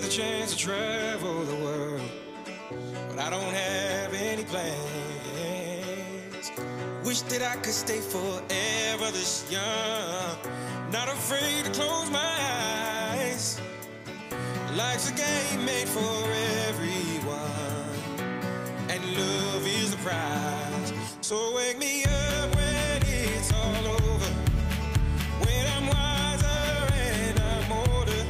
the chance to travel the world, but I don't have any plans. Wish that I could stay forever this young, not afraid to close my eyes. Life's a game made for everyone, and love is the prize. So wake me up when it's all over, when I'm wiser and I'm older.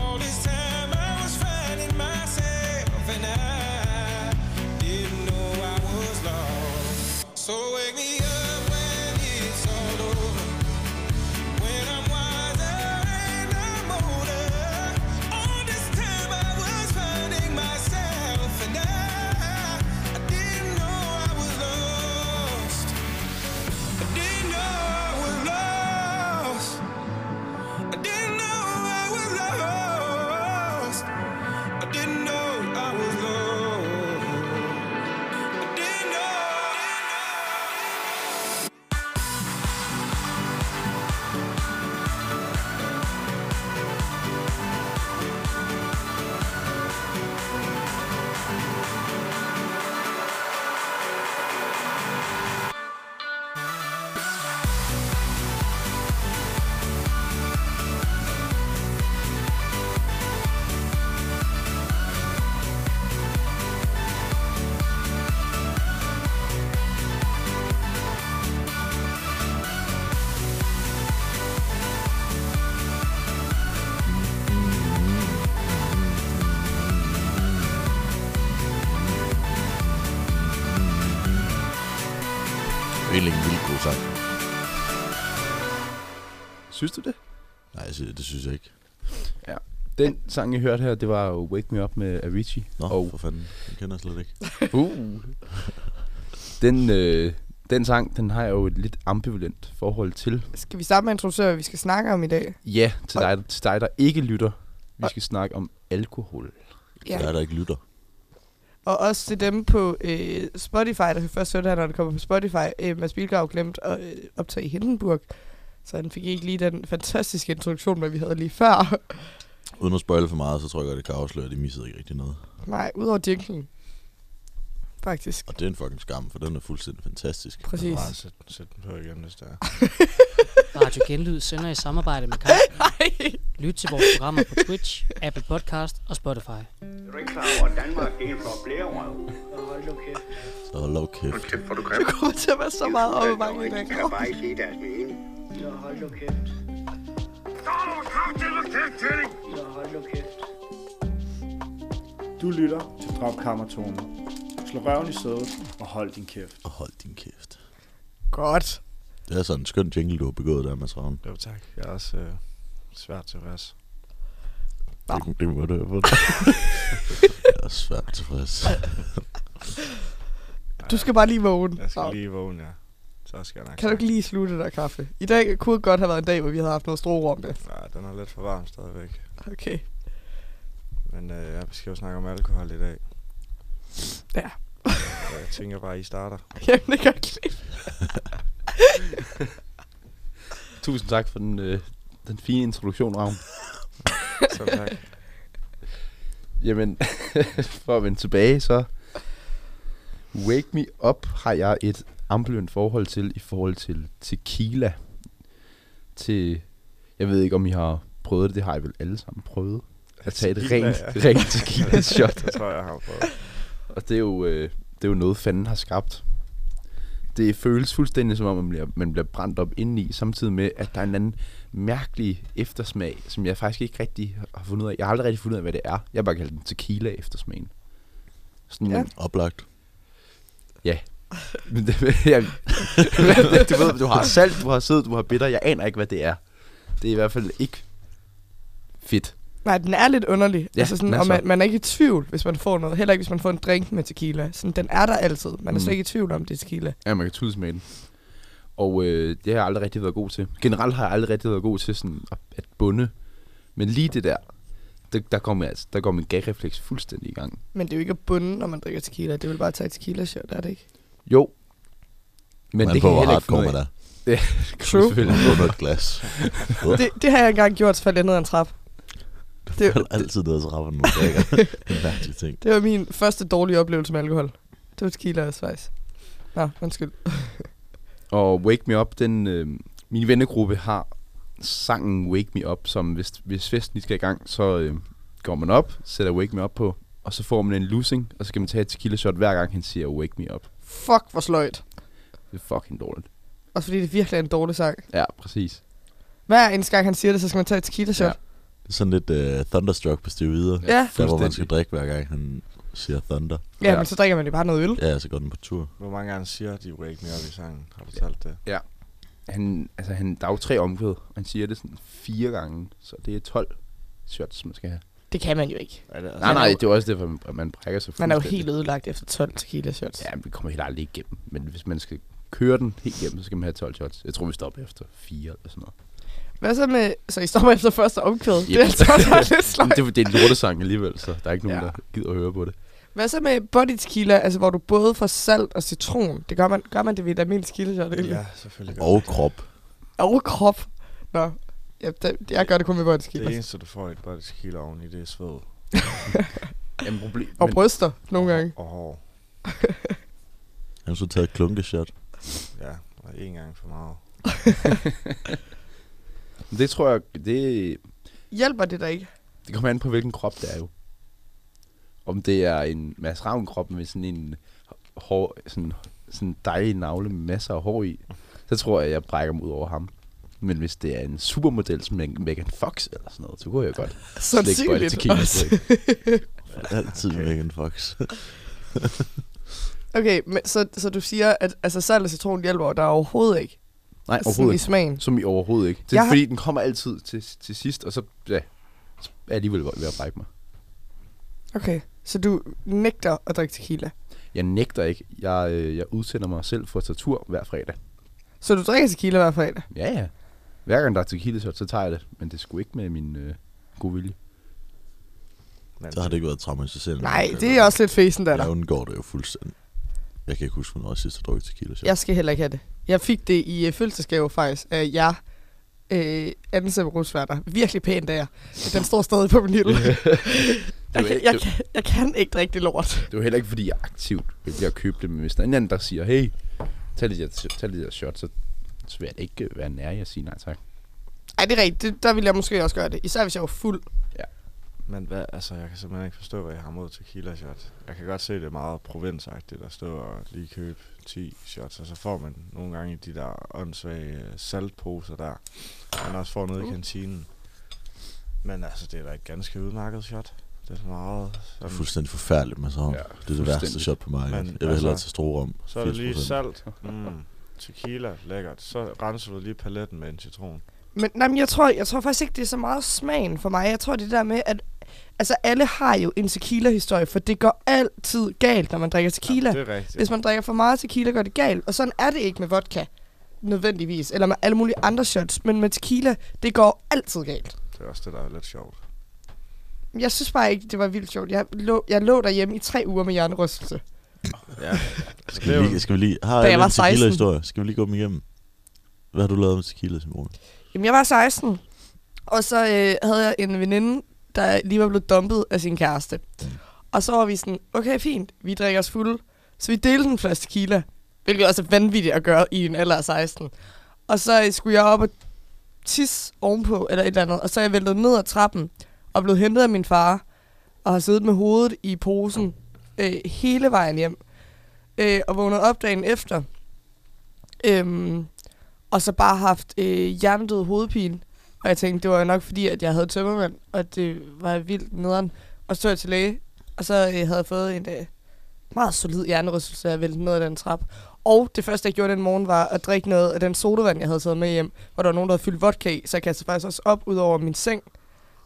All this time I was finding myself, and I didn't know I was lost. So wake me up when it's all over. When I'm wiser and I'm older, all this time I was finding myself, and I, I didn't know I was lost. I didn't know I was lost. I didn't know I was lost. I didn't know I was lost. I didn't know. Helt en vildt god sang. Synes du det? Nej, jeg siger, det synes jeg ikke. Den sang, I hørte her, det var jo Wake Me Up med Avicii. Nå, og oh. for fanden. Den kender jeg slet ikke. Uh. Den, øh, den sang, den har jeg jo et lidt ambivalent forhold til. Skal vi starte med at introducere, hvad vi skal snakke om i dag? Ja, til dig, til dig der ikke lytter. Vi skal snakke om alkohol. Ja. Der er der ikke lytter. Og også til dem på øh, Spotify, der kan først høre det her, når det kommer på Spotify. Øh, Mads Bilgaard glemte at øh, optage i Hindenburg, så han fik ikke lige den fantastiske introduktion, hvad vi havde lige før. Uden at spoile for meget, så tror jeg godt, det kan afsløre, at de missede ikke rigtig noget. Nej, udover jinglen. Faktisk. Og det er en fucking skam, for den er fuldstændig fantastisk. Præcis. Bare sæt, sæt den på igen, hvis der er. Radio Genlyd sender i samarbejde med Kamp. Lyt til vores programmer på Twitch, Apple Podcast og Spotify. Du er ikke klar over, at Danmark det er en flok blærerøv. Hold nu kæft. Så hold dog kæft. Kæft, hvor du grim. Det kommer til at være så meget op i mange i De dag. kan bare ikke lide deres mening. Ja, hold nu kæft. Så er du kraftigt og kæft, Tønning! Ja, hold nu kæft. Du lytter til Dropkammertone. Slå røven i sædet og hold din kæft. Og hold din kæft. Godt. Det er sådan en skøn jingle, du har begået der, Mads Ravn. Jo, tak. Jeg er også øh, svært tilfreds. Det, det må det have fået. jeg er svært tilfreds. Du skal bare lige vågne. Jeg skal Nå. lige vågne, ja. Så skal jeg nok. Kan du ikke lige slutte der kaffe? I dag kunne godt have været en dag, hvor vi havde haft noget strorum med. Nej, den er lidt for varm stadigvæk. Okay. Men øh, jeg skal jo snakke om alkohol i dag. Ja. Så jeg tænker bare, at I starter. Jamen, det kan jeg ikke lide. Tusind tak for den, øh, den fine introduktion, Ravn. Så tak. Jamen, for at vende tilbage, så... Wake Me Up har jeg et ambivalent forhold til i forhold til tequila. Til... Jeg ved ikke, om I har prøvet det. Det har I vel alle sammen prøvet. At tage et Tequila, rent, ja. rent tequila-shot. Det tror jeg, jeg har prøvet. Og det er jo, øh, det er jo noget, fanden har skabt. Det føles fuldstændig som om, man bliver, man bliver brændt op indeni, samtidig med, at der er en anden mærkelig eftersmag, som jeg faktisk ikke rigtig har fundet ud af. Jeg har aldrig rigtig fundet ud af, hvad det er. Jeg har bare kaldt den tequila-eftersmagen. Sådan, Ja. ja. Men, Oplagt. men det, jeg, du ved, du har salt, du har sød, du har bitter. Jeg aner ikke, hvad det er. Det er i hvert fald ikke fedt. Nej, den er lidt underlig. Ja, Ja, altså den sådan, er og så. man, man, er ikke i tvivl, hvis man får noget. Heller ikke, hvis man får en drink med tequila. Sådan, den er der altid. Man er Mm. slet ikke i tvivl om, det er tequila. Ja, man kan tudes med den. Og øh, det har jeg aldrig rigtig været god til. Generelt har jeg aldrig rigtig været god til sådan at, at bunde. Men lige det der, der, der kom, jeg, altså, der kom min gagrefleks fuldstændig i gang. Men det er jo ikke at bunde, når man drikker tequila. Det vil bare at tage et tequila shot, er det ikke? Jo. Men Man det på, kan jeg hvor heller hard ikke finde kommer ud af. der. Selvfølgelig. Under et glas. Det, det har jeg engang gjort, så faldt jeg ned ad en trap. Det Det, Jeg har altid nede og rapper nogle drikker. det er mærkelige ting. det var min første dårlige oplevelse med alkohol. Det var tequila og svejs. Nå, undskyld. Og Wake Me Up, den, øh, min vennegruppe har sangen Wake Me Up, som hvis, hvis festen lige skal i gang, så øh, går man op, sætter Wake Me Up på, og så får man en losing, og så skal man tage et tequila shot hver gang, han siger Wake Me Up. Fuck, hvor sløjt. Det er fucking dårligt. Også fordi det virkelig er en dårlig sang. Ja, præcis. Hver eneste gang, han siger det, så skal man tage et tequila shot. Ja. Det er sådan lidt uh, Thunderstruck på Steve Videre. Ja. Der, hvor man skal Fuldstændig. drikke hver gang, han siger Thunder. Ja, Ja. men så drikker man jo bare noget øl. Ja, så går den på tur. Hvor mange gange siger de wake me up i sangen? Har du talt det? Han, altså, han, der er jo tre omkvæd, og han siger det sådan fire gange, så det er 12 shots, man skal have. Det kan man jo ikke. Er det altså, Nej, nej, det er jo også derfor, man- man brækker sig Man er jo fuldstændig. helt ødelagt efter 12 tequila shots. Ja, vi kommer helt aldrig igennem. Men hvis man skal køre den helt igennem, så skal man have 12 shots. Jeg tror, vi stopper efter 4 eller sådan noget. Hvad så med... Så I stopper efter første omkvæd? Yep. Yep. Det er altså også lidt Men sløjt. det, det er en lortesang alligevel, så der er ikke nogen, Ja. ja. der gider at høre på det. Hvad så med body tequila, altså hvor du både får salt og citron? Det gør man, gør man det ved et almindeligt tequila shot, ikke? Ja, selvfølgelig. Og krop. Og oh, krop. Nå. Ja, det, jeg gør det kun med body tequila. Det eneste, du får i et body tequila oven i, det er sved. Jamen, problem, Og men, bryster nogle gange. Og hår. Han så taget et klunkeshot. Ja, og en gang for meget. men det tror jeg, det, Hjælper det dig ikke? det kommer an på, hvilken krop det er jo. Om det er en Mads Ravn krop med sådan en hår, sådan, sådan en dejlig navle med masser af hår i, så tror jeg, jeg brækker mig ud over ham. Men hvis det er en supermodel som Meg- Megan Fox eller sådan noget, så kunne jeg godt slikke på det Sandsynligt til også. Altid okay. Megan Fox. Okay, men, så, så du siger, at altså, salt og citron hjælper der overhovedet ikke? Nej, Sådan overhovedet I smagen? Som i overhovedet ikke. Det Jeg er, har- fordi den kommer altid til, til sidst, og så, ja, så er jeg alligevel ved at brække mig. Okay, så du nægter at drikke tequila? Jeg nægter ikke. Jeg, øh, jeg udsender mig selv for tortur hver fredag. Så du drikker tequila hver fredag? Ja, ja. Hver gang der er tequila shot, så tager jeg det. Men det skulle ikke med min øh, gode vilje. Men Så har det ikke været traumatiserende. Nej, det er også lidt fæsen, der. Jeg undgår det jo fuldstændig. Jeg kan ikke huske, hvornår jeg sidst har drukket tequila shot. Jeg skal heller ikke have det. Jeg fik det i øh, fødselsdagsgave faktisk af jer. Øh, anden separosværter. Virkelig pænt af jer. Den står stadig på min hylde. jeg, kan, jeg, kan, jeg kan ikke drikke det lort. Det er jo heller ikke, fordi jeg aktivt bliver købt det. Men hvis der er en anden, der siger, hey, tag det der, tag det der shot, så, så vil jeg da ikke øh, være nær i at sige nej tak. Ej, det er rigtigt. Det, der ville jeg måske også gøre det. Især hvis jeg var fuld. Men hvad, altså, jeg kan simpelthen ikke forstå, hvad jeg har mod tequila shot. Jeg kan godt se, det er meget provinsagtigt at stå og lige købe 10 shots, og så får man nogle gange de der åndssvage øh, saltposer der, man også får nede i kantinen. Men altså, det er da et ganske udmærket shot. Det er så meget... Det er Sådan, fuldstændig forfærdeligt med sådan. Ja, Ja, det er det værste fuldstændig. shot på Men, markedet. jeg vil hellere altså, til Strorum. så er det lige 80%. salt, mm, tequila, lækkert. Så renser du lige paletten med en citron. Men nej, men jeg, tror, jeg tror faktisk ikke, det er så meget smagen for mig. Jeg tror det der med, at altså, alle har jo en tequila-historie, for det går altid galt, når man drikker tequila. Det er rigtigt. Hvis man drikker for meget tequila, går det galt. Og sådan er det ikke med vodka, nødvendigvis. Eller med alle mulige andre shots. Men med tequila, det går altid galt. Det er også det, der er lidt sjovt. Jeg synes bare ikke, det var vildt sjovt. Jeg lå, jeg lå derhjemme i tre uger med hjernerystelse. Ja. Altså, Skal vi lige, skal vi lige, har Da jeg jeg var en 16. tequila-historie? Skal vi lige gå dem igennem? Hvad har du lavet med tequila, Simone? Jamen, jeg var 16. Og så øh, havde jeg en veninde, der lige var blevet dumpet af sin kæreste. Og så var vi sådan, okay, fint, vi drikker os fulde. Så vi delte en flaske tequila, hvilket også er vanvittigt at gøre i en alder af 16. Og så øh, skulle jeg op og tisse ovenpå, eller et eller andet, og så er jeg væltet ned ad trappen, og blev hentet af min far, og har siddet med hovedet i posen øh, hele vejen hjem, øh, og vågnet op dagen efter, øhm, og så bare haft øh, hjernedød hovedpine, og jeg tænkte, det var jo nok fordi, at jeg havde tømmermænd, og det var vildt nederen, og så tog jeg til læge, og så øh, havde jeg fået en øh, meget solid hjernerystelse, jeg væltede ned ad den trap. Og det første, jeg gjorde den morgen, var at drikke noget af den sodavand, jeg havde taget med hjem, hvor der var nogen, der havde fyldt vodka i, så jeg kastede faktisk også op ud over min seng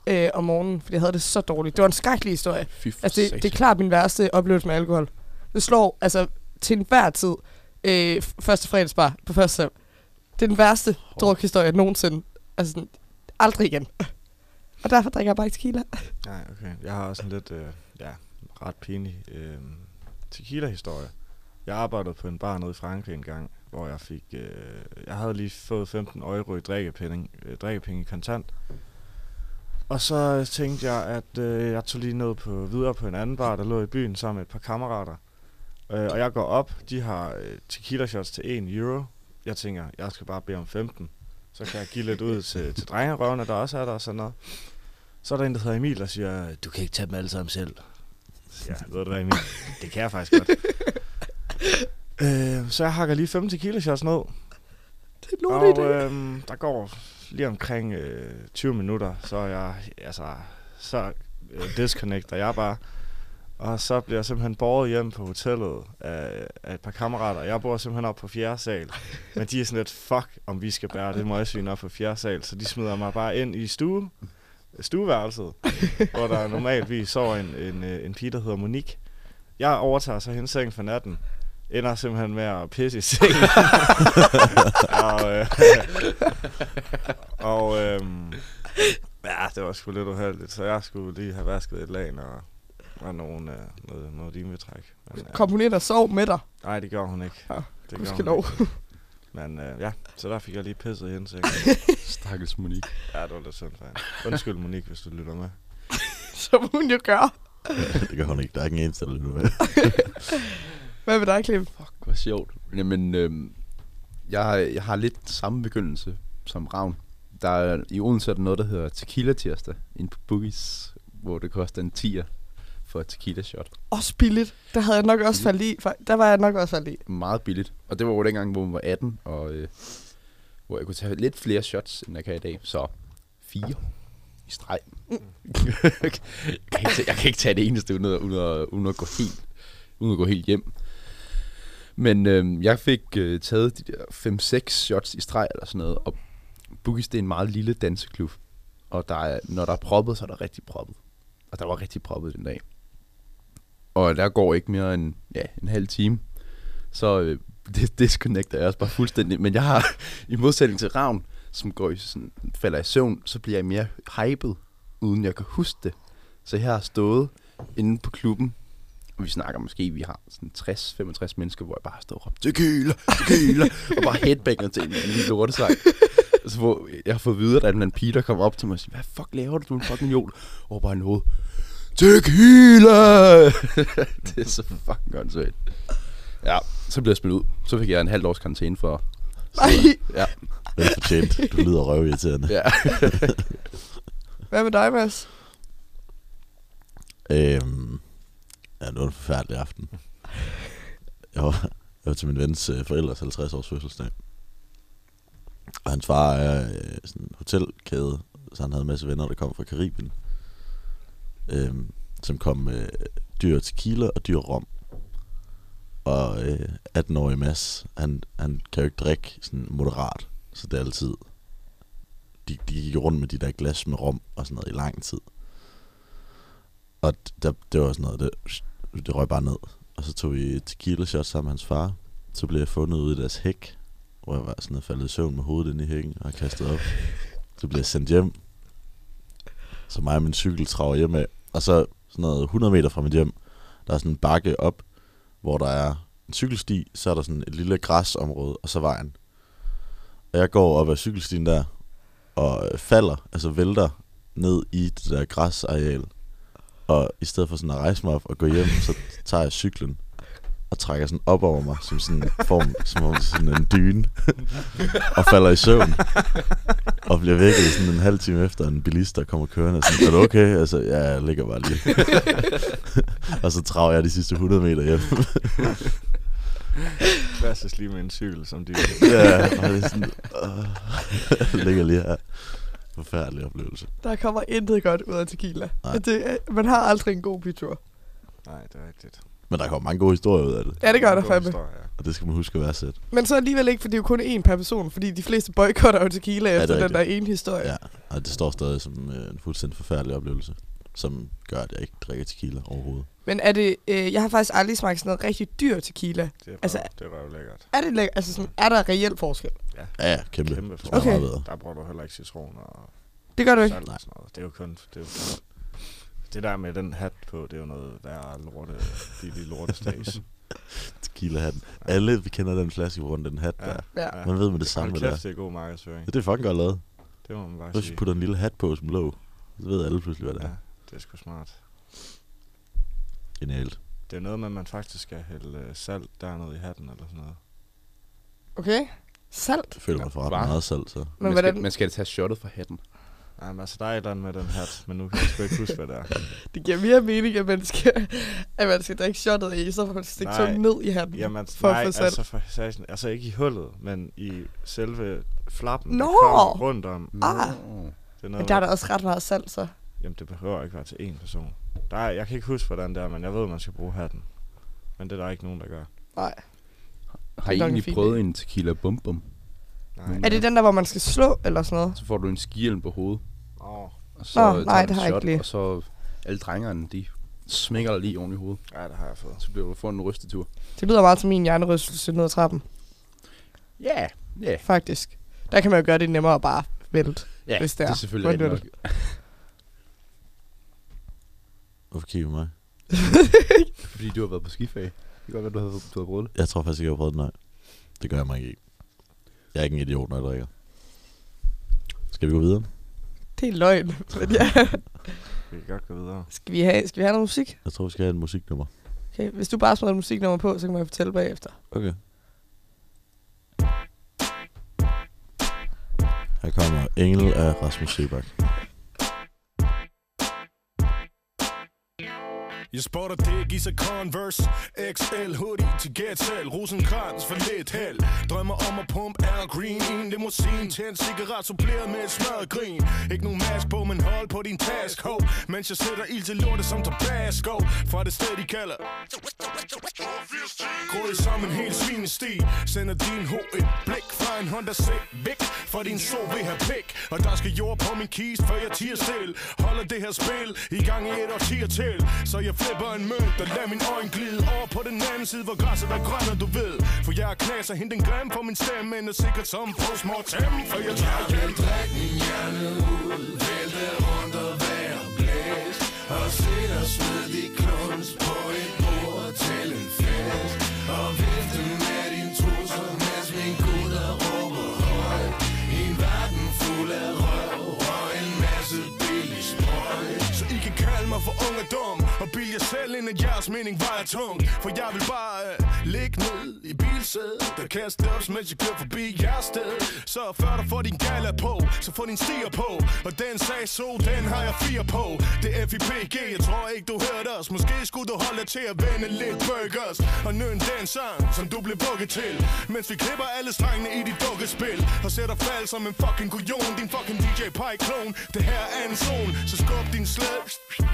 øh, om morgenen, fordi jeg havde det så dårligt. Det var en skrækkelig historie. Fy for Altså, det, satan. det er klart min værste oplevelse med alkohol. Det slår altså til enhver tid øh, f- første fredagsbar på første sam. Det er den værste drukhistorie nogensinde. Altså, sådan, aldrig igen. Og derfor drikker jeg bare ikke tequila. Nej, okay. Jeg har også en lidt, øh, ja, ret pinlig øh, tequila-historie. Jeg arbejdede på en bar nede i Frankrig en gang, hvor jeg fik, øh, jeg havde lige fået 15 euro i drikkepenge, øh, drikkepenge i kontant. Og så øh, tænkte jeg, at øh, jeg tog lige ned på, videre på en anden bar, der lå i byen sammen med et par kammerater. Øh, og jeg går op, de har øh, tequila shots til 1 euro. Jeg tænker, jeg skal bare bede om 15. Så kan jeg give lidt ud til, til drengerøvene, der også er der og sådan noget. Så er der en, der hedder Emil, der siger, du kan ikke tage dem alle sammen selv. Ja, ved du hvad Emil? Det kan jeg faktisk godt. øh, så jeg hakker lige 5 tequila shots ned. Det er Og nogen idé. øhm, der går lige omkring øh, 20 minutter, så er jeg, altså, så øh, disconnecter jeg bare. Og så bliver jeg simpelthen båret hjem på hotellet af, af et par kammerater. Jeg bor simpelthen op på fjerde sal. Men de er sådan lidt, fuck, om vi skal bære det møgsvin op på fjerde sal. Så de smider mig bare ind i stue, stueværelset, hvor der normalvis sover en, en, øh, en pige, der hedder Monique. Jeg overtager så hendes seng for natten. Ender simpelthen med at pisse i sengen. og, øh, og øhm, ja, det var sgu lidt uheldigt, så jeg skulle lige have vasket et lag, og, og nogen, øh, noget, noget limetræk. Men, øh, Kom hun ind og sov med dig. Nej, det gjorde hun ikke. Ja, det Gudskelov. Men øh, ja, så der fik jeg lige pisset i hendes seng. Stakkels Monique. Ja, det var lidt synd for hende. Undskyld, Monique, hvis du lytter med. Som hun jo gør. det gør hun ikke. Der er ikke en eneste, der lytter med. Hvad med dig, Clem? Fuck, hvor sjovt. Jamen, øhm, jeg, jeg har lidt samme begyndelse som Ravn. Der er, I Odense er der noget, der hedder Tequila Tirsdag. En på Boogies, hvor det koster en 10'er for et tequila shot. Også billigt. Der havde jeg nok også faldet i. For der var jeg nok også faldet i. Meget billigt. Og det var jo dengang, hvor man var 18, og øh, hvor jeg kunne tage lidt flere shots, end jeg kan i dag. Så fire i streg. jeg, kan ikke tage, jeg kan ikke tage det eneste, uden at, uden at, uden at, gå, helt, uden at gå helt hjem. Men øh, jeg fik øh, taget de der 5-6 shots i streg eller sådan noget, og Bugis, det er en meget lille danseklub. Og der er, når der er proppet, så er der rigtig proppet. Og der var rigtig proppet den dag. Og der går ikke mere end ja, en halv time, så øh, det disconnecter jeg også bare fuldstændig. Men jeg har, i modsætning til Ravn, som går i sådan, falder i søvn, så bliver jeg mere hyped, uden jeg kan huske det. Så jeg har stået inde på klubben, og vi snakker måske, vi har sådan 60-65 mennesker, hvor jeg bare står og råber, tequila, tequila, og bare headbanger til en eller anden lortesang. Så hvor jeg har fået at vide, at der er en eller anden pige, der kommer op til mig og siger, hvad fuck laver du, du er en fucking jord? Og bare noget, tequila! det er så fucking åndssvagt. Ja, så blev jeg smidt ud. Så fik jeg en halv års karantæne for... Nej. Ja, Vel fortjent. Du lyder røvirriterende. ja. Hvad med dig, Mads? Øhm, ja, det var en forfærdelig aften. Jeg var, jeg var til min vens øh, forældres 50-års fødselsdag. Og hans far er øh, sådan en hotelkæde, så han havde en masse venner, der kom fra Karibien. Øhm, som kom med øh, dyr tequila og dyr rom. Og øh, 18-årige Mads, han, han kan jo ikke drikke sådan moderat, så det er altid... De, de gik rundt med de der glas med rom og sådan noget i lang tid. Og d- der, det var sådan noget, det, det røg bare ned. Og så tog vi tequila shots sammen med hans far. Så blev jeg fundet ude i deres hæk, hvor jeg var sådan og faldet i søvn med hovedet ind i hækken og kastet op. Så blev jeg sendt hjem. Så mig og min cykel traver hjem af. Og så sådan noget 100 meter fra mit hjem, der er sådan en bakke op, hvor der er en cykelsti, så er der sådan et lille græsområde, og så vejen. Og jeg går op ad cykelstien der, og øh, falder, altså vælter ned i det der græsareal. Og i stedet for sådan at rejse mig op og gå hjem, så tager jeg cyklen og trækker sådan op over mig, som sådan en form, som om sådan en dyne, og falder i søvn, og bliver vækket sådan en halv time efter en bilist, der kommer kørende, og sådan, er du okay? Altså, ja, jeg ligger bare lige. og så traver jeg de sidste 100 meter hjem. Fastes lige med en cykel, som de... ja, og det er sådan, øh, ligger lige her. Forfærdelig oplevelse. Der kommer intet godt ud af tequila. Nej. Det, er- man har aldrig en god bytur. Nej, det er rigtigt. Men der kommer mange gode historier ud af det, Ja, det gør der God fandme. historie, ja. og det skal man huske at værdsætte. Men så alligevel ikke, for det er jo kun én per person, fordi de fleste boykotter jo tequila det er efter den der rigtigt. ene historie. Ja, og det står stadig som øh, en fuldstændig forfærdelig oplevelse, som gør, at jeg ikke drikker tequila overhovedet. Men er det, øh, jeg har faktisk aldrig smagt sådan noget rigtig dyr tequila. Det er, Altså- altså, det var jo lækkert. Er, det, læk- altså sådan, er der reelt forskel? Ja, ja, kæmpe. Kæmpe Det forskel. smager meget bedre. Der bruger du heller ikke citron og Det gør du ikke. salt og sådan noget. Det er jo kun... Det, er jo kun det der med den hat på, det er jo noget værre lorte, de, de lortestags. Tequila hatten. Alle vi kender den flaske rundt den hat der. Ja. Man ved med det samme, Hold hvad det er. kæft, det er god markedsføring. Ja, det er fucking godt lavet. Det må man bare Hvis vi sige. putter en lille hat på som låg. Så ved alle pludselig, hvad det er. Ja, det er sgu smart. Genialt. Det er noget med, at man faktisk skal hælde øh, salt dernede i hatten eller sådan noget. Okay. Salt? Jeg føler mig for ret Hva? meget salt, så. Men man, hvordan? skal, man skal tage shottet fra hatten. Nej, men altså, der er et eller andet med den hat, men nu kan jeg sgu ikke huske, hvad det er. Det giver mere mening, at man skal, at man skal drikke shotet i, så får man stikke Nej. tungen ned i hatten. Jamen, altså, for nej, at få salt. altså, for, satan, altså ikke i hullet, men i selve flappen, Nå! der kommer rundt om. Det Ah, er men noget, der er med- da også ret meget salt, så. Jamen, det behøver ikke være til én person. Der er, jeg kan ikke huske, hvordan det er, men jeg ved, at man skal bruge hatten. Men det er der ikke nogen, der gør. Nej. Har I nok en egentlig fin prøvet en tequila bum bum? øh, Nej. Er det den der, hvor man skal slå, eller sådan noget? Så får du en skihjelm på hovedet. Åh, Og så Nå, tager nej, du det en har jeg shot, ikke lige. Og så alle drengerne, de smækker dig lige oven i hovedet. ja, det har jeg fået. Så bliver du får en rystetur. Det lyder meget som min hjernerystelse ned ad trappen, Ja, yeah. ja. Yeah. faktisk. Der kan man jo gøre det nemmere at bare vælte. Ja, Hvis det det er er. selvfølgelig Hvordan rigtigt nok. Hvorfor kigger du på mig? Fordi du har været på skifag. Det kan godt være, du har, du har prøvet det. Jeg tror faktisk ikke, jeg har prøvet det, nej. Det gør jeg mig ikke. Jeg er ikke en idiot, når jeg drikker. Skal vi gå videre? Det er løgn. Men ja. Vi kan godt gå videre. skal, vi have, skal vi have noget musik? Jeg tror, vi skal have en musiknummer. Okay. Hvis du bare smider et musiknummer på, så kan man fortælle bagefter. Okay. Her kommer Engel af Rasmus Sebak. Jeg spotter dæk i så Converse XL hoodie til gæt selv Rosenkrans for lidt held Drømmer om at pumpe Air Green i en limousine Til en cigaret suppleret med et smørret grin Ikke nogen mask på, men hold på din task ho Mens jeg sætter ild til lortet som Tabasco Fra det sted de kalder Gråd som en hel svinesti Sender din ho et blik fra en Honda Civic For din so vil have pik Og der skal jord på min kiste, før jeg tiger stille Holder det her spil i gang i et årtier til Så jeg flipper en mønt og lader min øjne glide Over på den anden side, hvor græsset er grønt, og du ved For jeg er knas og hente en grim for min stemme Men er sikkert som postmortem, for jeg tager hjem Så I kan kalde mig for ung og dum Og bilde jer selv ind, at jeres mening vejer tung For jeg vil bare øh, ligge ned i bilsædet Der kaste ups, mens jeg kører forbi jeres sted Så før du får din gala på, så få din stier på Og den sag så, den har jeg fire på Det er FIPG, jeg tror ikke du hørte os Måske skulle du holde dig til at vende lidt burgers Og nøn den sang, som du blev vugget til Mens vi klipper alle strengene i dit dukkespil Og sætter fald som en fucking kujon Din fucking DJ Pie-klon Det her er en zone, så skub din slæd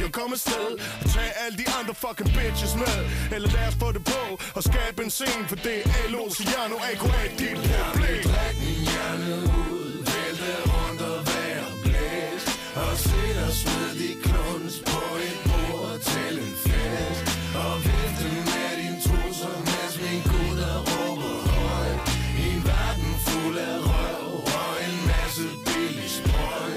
Jeg kommer sted Og tag alle de andre fucking bitches med Eller lad os få det på Og skabe en scene For det er LO, Ciano, AKA, dit problem Dræk min hjerne ud Vælte rundt og vær blæst Og sæt og smid de kluns på et bord til en fest Og vifte med din trusser Mens min gutter råber højt I en verden fuld af røv Og en masse billig sprøj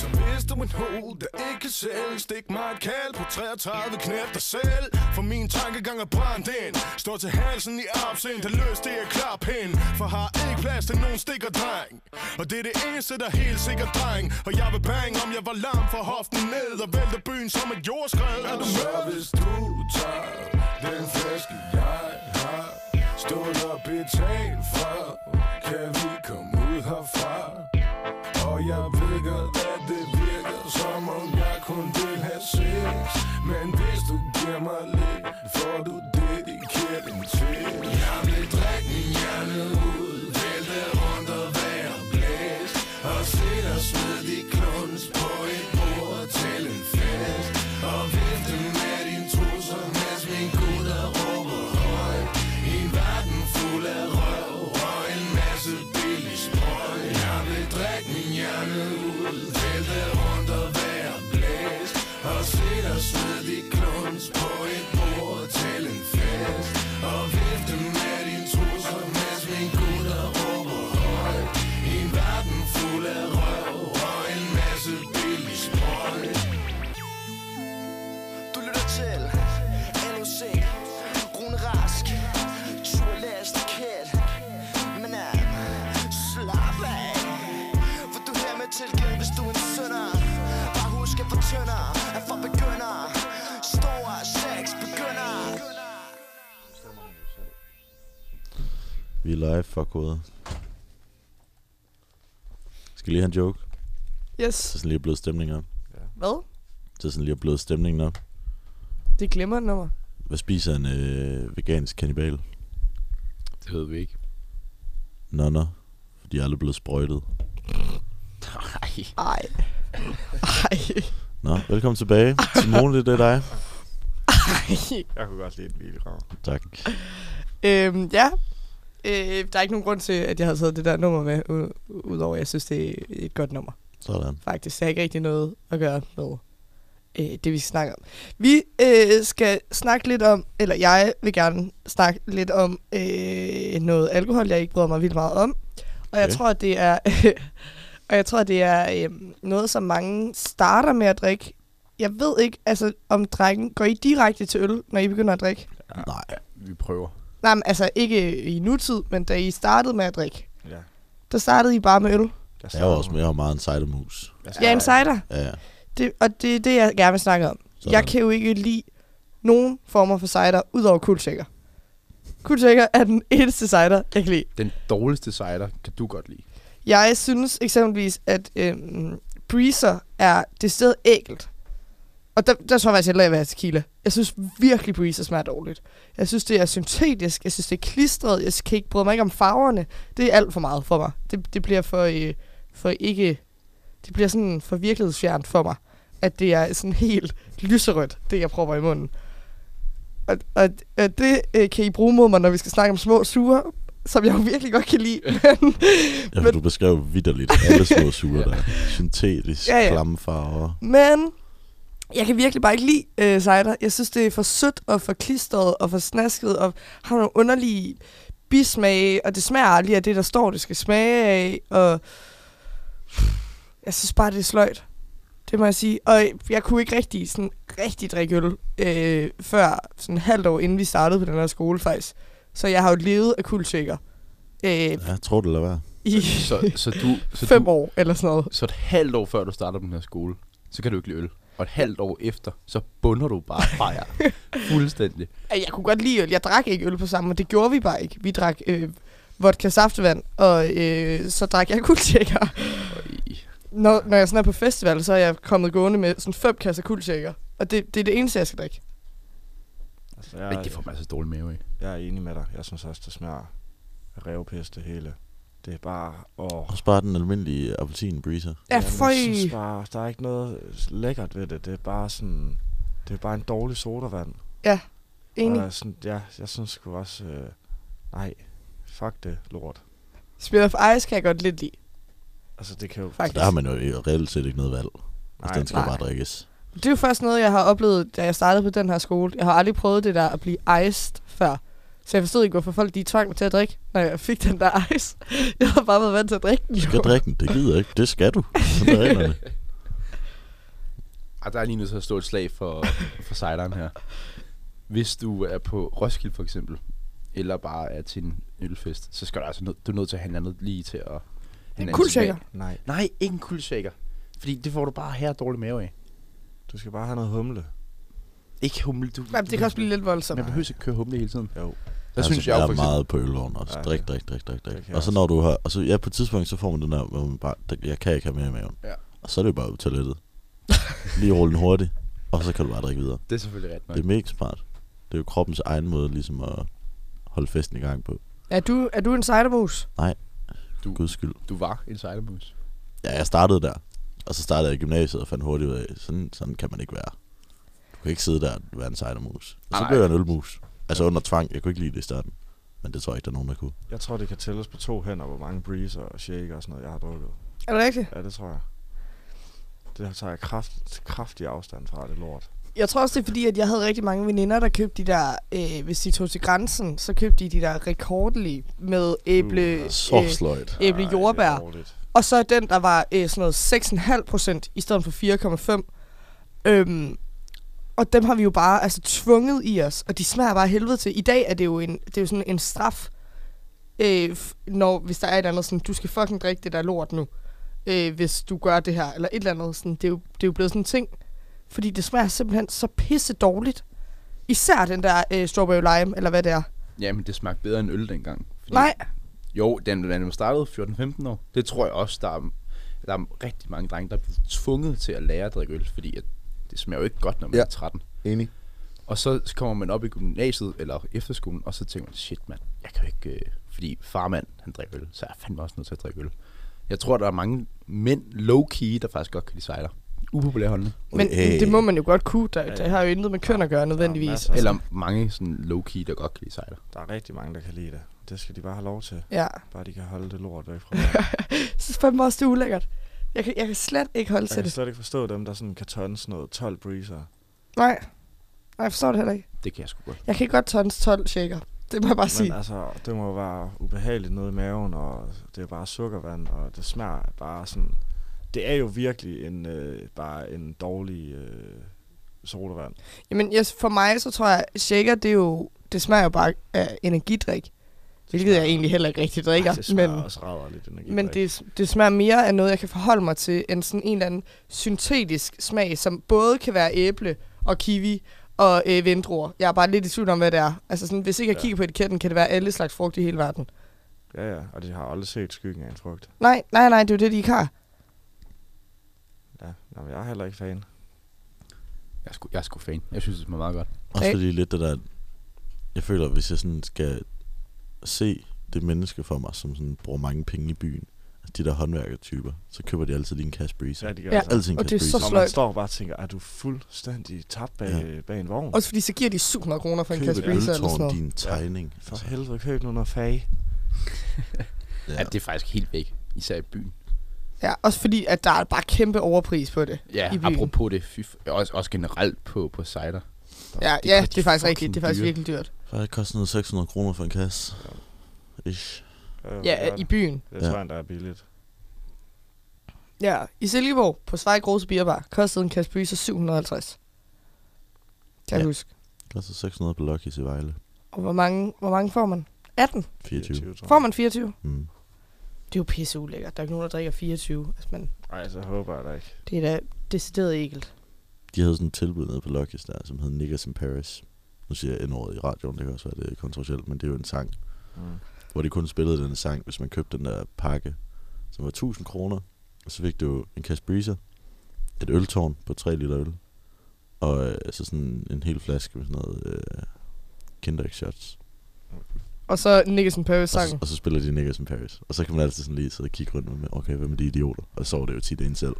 Så hvis du er en hoved, der ikke kan sælge Stik mig et kald på 33 knæf dig selv For min tankegang er brændt ind Står til halsen i opsind Der løs det er klar pind For har ikke plads til nogen stikker dreng Og det er det eneste, der er helt sikkert dreng Og jeg vil bang, om jeg var lam for hoften ned Og vælte byen som et jordskred Er du med? hvis du tager den flaske, jeg har Stået og betalt for Kan vi komme ud herfra? Og jeg ved godt, at det virker som om jeg kun vil have sex Men hvis du giver mig lidt, får du dedikeret en til Jeg vil drikke min hjerne ud, vælte rundt og være blæst Og se dig smide de kluns på et bord til en fest Og vifte med din trusser, mens min gutter råber højt I en verden fuld af røv og en masse billig sprøj Jeg vil drikke min hjerne ud, vælte rundt og være blæst Og se dig smide de kluns på et bord til en fest Og vifte med din trusser, mens min gutter råber højt I en verden fuld af røv og en masse billig sprøj Du lytter til LOC Rune Rask Turlæst kæt Men er slap af For du er med tilgivet, hvis du er en sønder Bare husk at Vi er live, fuck hovedet. Skal lige have en joke? Yes. Så sådan lige at bløde stemningen op. Hvad? Så sådan lige at bløde stemningen op. Det glemmer nummer. Hvad spiser en øh, vegansk kannibal? Det ved vi ikke. Nonner. For de er aldrig blevet sprøjtet. Nej. Ej. Ej. Nå, velkommen tilbage. Simone, det er dig. Jeg kunne godt lide en hvilegrav. Tak. Øhm, ja. Øh, der er ikke nogen grund til, at jeg har taget det der nummer med, u- udover at jeg synes, det er et godt nummer. Sådan. Faktisk, det har ikke rigtig noget at gøre med øh, det, vi snakker om. Vi øh, skal snakke lidt om, eller jeg vil gerne snakke lidt om øh, noget alkohol, jeg ikke bryder mig vildt meget om. Og jeg Okay. tror, at det er, og jeg tror, at det er øh, noget, som mange starter med at drikke. Jeg ved ikke, altså om drenge, går I direkte til øl, når I begynder at drikke? Nej. Vi prøver. Nej, men altså ikke i nutid, men da I startede med at drikke, Ja. der startede I bare med øl. Jeg er jo også jeg er jo meget en cidermus. Jeg er en cider. Ja, ja. Det, og det er det, jeg gerne vil snakke om. Sådan. Sådan. Jeg kan jo ikke lide nogen former for cider, udover kulsækker. Kulsækker er den eneste cider, jeg kan lide. Den dårligste cider kan du godt lide. Jeg synes eksempelvis, at øhm, Breezer er det sted ægelt. Og der, der tror jeg faktisk heller, jeg vil have tequila. Jeg synes virkelig, Breezer smager dårligt. Jeg synes, det er syntetisk. Jeg synes, det er klistret. Jeg kan ikke bryde mig ikke om farverne. Det er alt for meget for mig. Det, det bliver for, øh, for ikke... Det bliver sådan for virkelighedsfjernt for mig. At det er sådan helt lyserødt, det jeg prøver i munden. Og, og, og det øh, kan I bruge mod mig, når vi skal snakke om små sure, som jeg jo virkelig godt kan lide. Men, Ja, for du beskrev vidderligt alle små sure der. Syntetisk, Ja, ja, ja. ja. klamme farver. Men jeg kan virkelig bare ikke lide øh, cider. Jeg synes, det er for sødt og for klistret og for snasket og har nogle underlige bismage, og det smager aldrig af det, der står, det skal smage af, og jeg synes bare, det er sløjt. Det må jeg sige. Og jeg kunne ikke rigtig, sådan, rigtig drikke øl øh, før sådan halvt år, inden vi startede på den her skole faktisk. Så jeg har jo levet af kuldshaker. Øh, Ja, tror du eller hvad? I så, så du, så fem du, år eller sådan noget. Så et halvt år før du starter på den her skole, så kan du ikke lide øl. Og et halvt år efter, så bunder du bare fra jer. Fuldstændig. at jeg kunne godt lide øl. Jeg drak ikke øl på sammen, og det gjorde vi bare ikke. Vi drak øh, vodka saftevand, og øh, så drak jeg kuldtjekker. Når, når jeg sådan er på festival, så er jeg kommet gående med sådan fem kasser kuldtjekker. Og det, det er det eneste, jeg skal drikke. Altså, Men det får man altså dårlig mave af. Jeg er enig med dig. Jeg synes også, det smager af revpis det hele. Det er bare... Åh. Og spar den almindelige appelsin breezer. Ja, Jamen, føj. Jeg synes bare, der er ikke noget lækkert ved det. Det er bare sådan... Det er bare en dårlig sodavand. Ja, enig. Og sådan, ja, jeg synes sgu også... Øh, nej, fuck det lort. Spirit of Ice kan jeg godt lidt lide. Altså, det kan jo... Faktisk. Der har man jo i- reelt set ikke noget valg. Altså, Nej. den skal Nej. bare drikkes. Det er jo først noget, jeg har oplevet, da jeg startede på den her skole. Jeg har aldrig prøvet det der at blive iced før. Så jeg forstod ikke, hvorfor folk de tvang mig til at drikke, når jeg fik den der ice. Jeg har bare været vant til at drikke den. Du skal drikke den. Det gider jeg ikke. Det skal du. Sådan er reglerne. Ej, der er lige nødt til at stå et slag for, for cideren her. Hvis du er på Roskilde for eksempel, eller bare er til en ølfest, så skal du altså nød, du er nødt til at handle noget lige til at... En kuldshaker. Nej. Nej, ikke en kuldshaker. Fordi det får du bare her dårlig mave af. Du skal bare have noget humle. Ikke humle, du... Jamen, det kan også blive lidt voldsomt. Man behøver ikke køre humle hele tiden. Jo. Altså, Der synes jeg, jeg Altså, jo er for eksempel... meget på ølvogn også. Ja, Drik, drik, drik, drik, Det drik. kan Og så jeg når du har... Altså, ja, på et tidspunkt, så får man den der, hvor man bare... der- Jeg kan ikke have mere i maven. Ja. Og så er det jo bare ud på toilettet. Lige rulle den hurtigt. Og så kan du bare drikke videre. Det er selvfølgelig ret nok. Det er mega smart. Det er jo kroppens egen måde ligesom at holde festen i gang på. Er du, er du en cidermus? Nej. Du, Guds skyld. Du var en cidermus. Ja, jeg startede der. Og så startede jeg i gymnasiet og fandt hurtigt ud af, sådan, sådan kan man ikke være. Du kan ikke sidde der og være en cidermus. Og så Nej. blev jeg en ølmus. Altså under tvang. Jeg kunne ikke lide det i starten. Men det tror jeg ikke, der er nogen, der kunne. Jeg tror, det kan tælles på to hænder, hvor mange breezer og shake og sådan noget, jeg har drukket. Er det rigtigt? Ja, det tror jeg. Det tager jeg kraft, kraftig afstand fra, det lort. Jeg tror også, det er fordi, at jeg havde rigtig mange veninder, der købte de der, øh, hvis de tog til grænsen, så købte de de der rekordelige med æble, øh, Uh, så sløjt. æble Ej, det jordbær. er dårligt. og så den, der var øh, sådan noget 6,5 procent i stedet for 4,5. Øhm, og dem har vi jo bare altså, tvunget i os, og de smager bare af helvede til. I dag er det jo, en, det er jo sådan en straf, øh, f- når, hvis der er et eller andet sådan, du skal fucking drikke det der lort nu, øh, hvis du gør det her, eller et eller andet. Sådan, det, er jo, det er jo blevet sådan en ting, fordi det smager simpelthen så pisse dårligt. Især den der øh, strawberry lime, eller hvad det er. Jamen, det smagte bedre end øl dengang. Nej, Jo, den, den er startet 14-15 år. Det tror jeg også, der er, der er rigtig mange drenge, der er blevet tvunget til at lære at drikke øl, fordi at det smager jo ikke godt, når man ja. er 13. Enig. Og så kommer man op i gymnasiet eller efterskolen, og så tænker man, shit mand, jeg kan jo ikke... Øh, fordi farmand, han drikker øl, så er jeg fandme også nødt til at drikke øl. Jeg tror, der er mange mænd low-key, der faktisk godt kan lide sejler. Upopulære holdning. Men det må man jo godt kunne. Der, der har jo intet med køn at gøre nødvendigvis. Eller mange sådan low-key, der godt kan lide sejler. Der er rigtig mange, der kan lide det. Det skal de bare have lov til. Ja. Bare de kan holde det lort væk fra mig. Jeg synes fandme også, det er ulækkert. Jeg kan, jeg kan slet ikke holde Jeg til kan det. slet ikke forstå dem, der sådan kan tånde sådan noget 12 breezer. Nej. Nej, jeg forstår det heller ikke. Det kan jeg sgu godt. Jeg kan godt tons 12 shaker. Det må jeg bare sige. Men altså, det må jo være ubehageligt noget i maven, og det er bare sukkervand, og det smager bare sådan... Det er jo virkelig en, øh, bare en dårlig øh, sodavand. Jamen, yes, for mig, så tror jeg, shaker, det er jo... Det smager jo bare af energidrik. Hvilket jeg egentlig heller ikke rigtig drikker. Ej, det smager men, også rædderligt energi. Men det, det smager mere af noget, jeg kan forholde mig til, end sådan en eller anden syntetisk smag, som både kan være æble og kiwi og øh, vindruer. Jeg er bare lidt i tvivl om, hvad det er. Altså sådan, hvis ikke jeg Ja. kigger på etiketten, kan det være alle slags frugt i hele verden. Ja, ja, og de har aldrig set skyggen af en frugt. Nej, nej, nej, det er jo det, de ikke har. Ja, nå, men jeg er heller ikke fan. Jeg er sgu, jeg er sgu fan. Jeg synes, det smager meget godt. Også Hey. fordi lidt det der, jeg føler, hvis jeg sådan skal se det menneske for mig, som sådan bruger mange penge i byen, altså de der håndværkertyper, så køber de altid lige en cash breezer. Ja, de gør Ja, altså. Altid en og cash det er så breezer. Og man sløjt. står og bare og tænker, er du fuldstændig tabt bag, ja. bag en vogn? Også fordi så giver de 700 kroner for en Køb kasse et breezer eller sådan øltårn, noget. din tegning. Altså, For helvede, køb nu noget fag. Ja. At det er faktisk helt væk. Især i byen. Ja, også fordi, at der er bare kæmpe overpris på det Ja, i byen. apropos det. Fy, f- også, også generelt på, på cider. Ja, det det, ja, koster det er faktisk fucking rigtigt. Det er faktisk dyre. virkelig dyrt. For det koster noget 600 kroner for en kasse. Ish. Øh, Ja, i byen. Det Ja. tror jeg, der er billigt. Ja, i Silkeborg på Svejk Rose Bierbar kostede en kasse breezer 750. Kan jeg Ja. huske. Koster 600 på Lucky's i Vejle. Og hvor mange, hvor mange får man? 18. 24. tror jeg. Får man 24? Mm. Det er jo pisse ulækkert. Der er ikke nogen, der drikker 24. Altså, man, Ej, så håber jeg da ikke. det er da decideret ægelt. De havde sådan et tilbud nede på Lucky's der, som hed Niggas in Paris. Nu siger jeg endordet i radioen, det kan også være det er kontroversielt, men det er jo en sang. Mm. hvor de kun spillede den sang, hvis man købte den der pakke, som var 1000 kroner, og så fik du en kasse breezer, et øltårn på 3 liter øl, og øh, så sådan en hel flaske med sådan noget øh, Kinder Egg Shots. Og så Nicholson Paris Og så, sangen. og så spiller de Niggas in Paris. Og så kan man altid sådan lige sidde og kigge rundt med, okay, hvad med de idioter? Og så var det jo tit en selv.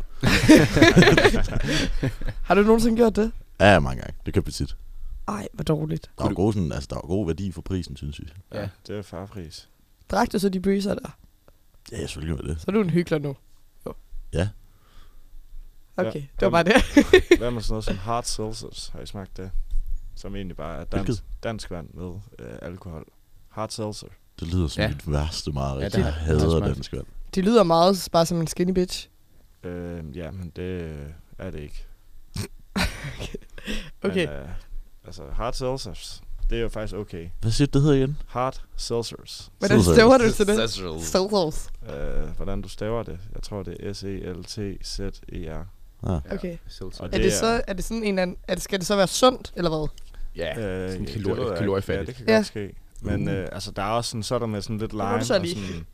Har du nogensinde gjort det? Ja, mange gange. Det købte vi tit. Ej, hvor dårligt. Der var, gode, sådan, altså, der var god værdi for prisen, synes jeg. Ja. Ja, det er farpris. Drak du så de breezer der? Ja, jeg selvfølgelig var det. Så er du en hyggelig nu. Jo. Ja. Okay, Ja. det var bare det. Hvad med sådan noget som hard seltzers? Har I smagt det? Som egentlig bare er dansk, Hvilket? dansk vand med øh, alkohol. Hard seltzer. Det lyder som Ja. ja. mit værste Ja, mareridt. det Ja, har- jeg det har jeg hader smagt. den skvand. Det lyder meget bare som en skinny bitch. Øh, ja, men det øh, er det ikke. Okay. Men, øh, altså, hard seltzers, det er jo faktisk okay. Hvad siger du, det hedder igen? Hard seltzers. Hvordan Seltzer. stæver du til det? Seltzers. Seltzers. Øh, hvordan du staver det? Jeg tror, det er S-E-L-T-Z-E-R. Ah. Okay. Seltzer. Og Er Det det, er- så, er det sådan en eller anden, er det, skal det så være sundt, eller hvad? Ja, Øh, sådan det kalori- ved jeg ikke. Ja, kaloriefattigt. det kan Ja. godt ske. Men Mm. øh, altså, der er også sådan, så er der med sådan lidt må lime. du og så lige. sådan,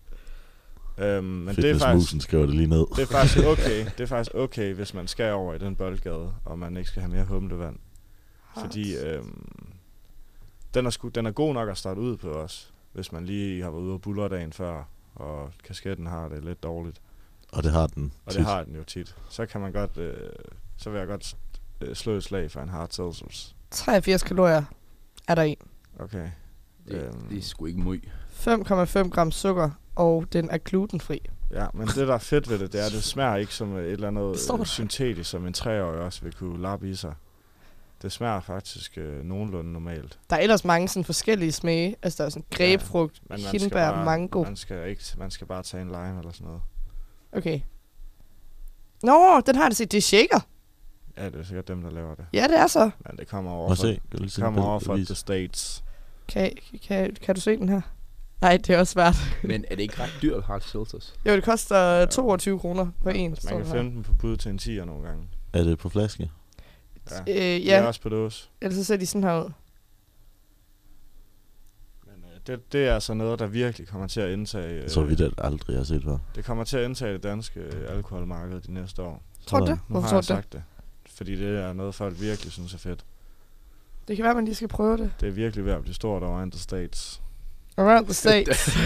øhm, men det er faktisk, Fitnessmusen skriver det lige ned. det er faktisk okay, det er faktisk okay, hvis man skal over i den boldgade, og man ikke skal have mere humlevand. Fordi øhm, den, er sku, den er god nok at starte ud på os, hvis man lige har været ude og buller dagen før, og kasketten har det lidt dårligt. Og det har den Og det har den jo tit. Så kan man godt, øh, så vil jeg godt øh, slå et slag for en hard seltzers. 83 kalorier er der i. Okay. det, det øhm. er sgu ikke møg. 5,5 gram sukker, og den er glutenfri. Ja, men det, der er fedt ved det, det er, at det smager ikke som øh, et eller Det andet står der. øh, syntetisk, som en treårig også vil kunne lappe i sig. Det smager faktisk øh, nogenlunde normalt. Der er ellers mange sådan forskellige smage. Altså, der er sådan græbefrugt, Men ja, man skal, hindbær, bare, mango. man, skal ikke, man skal bare tage en lime eller sådan noget. Okay. Nå, den har jeg da set. Det er shaker. Ja, det er sikkert dem, der laver det. Ja, det er så. Men det kommer over Prøv at se. fra, Kan du lige se det kommer en over fra bevis? The States. Kan, kan, kan du se den her? Nej, det er også svært. Men er det ikke ret dyrt, hard seltzers? Jo, det koster 22 kroner for en. Man kan finde dem på bud til en 10'er nogle gange. Er det på flaske? Ja. Øh, ja. De er ja, også på dåse. ellers så ser de sådan her ud. Men øh, det, det er altså noget, der virkelig kommer til at indtage... øh, Så vidt at aldrig har set før. Det kommer til at indtage det danske øh, alkoholmarked de næste år. Tror du det? Nu Hvorfor har tror jeg du det? sagt det. Fordi det er noget, folk virkelig synes er fedt. Det kan være, man lige skal prøve det. Det er virkelig ved at blive stort over andre states. Around the states.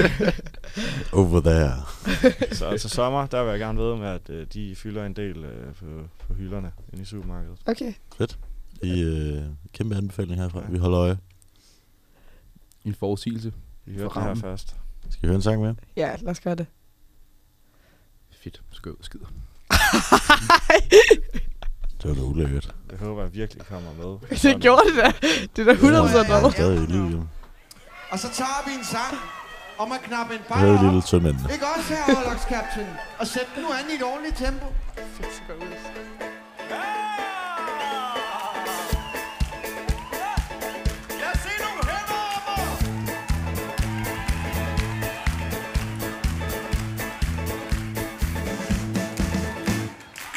Over there. så altså sommer, der vil jeg gerne vide med, at øh, de fylder en del øh, på, på hylderne inde i supermarkedet. Okay. Fedt. I øh, kæmpe anbefaling herfra. Vi holder øje. En forudsigelse. I hørte For det her rammen. først. Skal vi høre en sang mere? Ja, lad os gøre det. Fedt. Skøv og skider. Det var da ulækkert. Jeg håber, jeg virkelig kommer med. Det gjorde det da. Det er da 100% Jeg er noget. stadig i liv, jo. Og så tager vi en sang om at knappe en Jeg havde bajer lige op. lidt tømændene. Ikke også her, Overlocks Captain? Og sæt den nu an i et ordentligt tempo.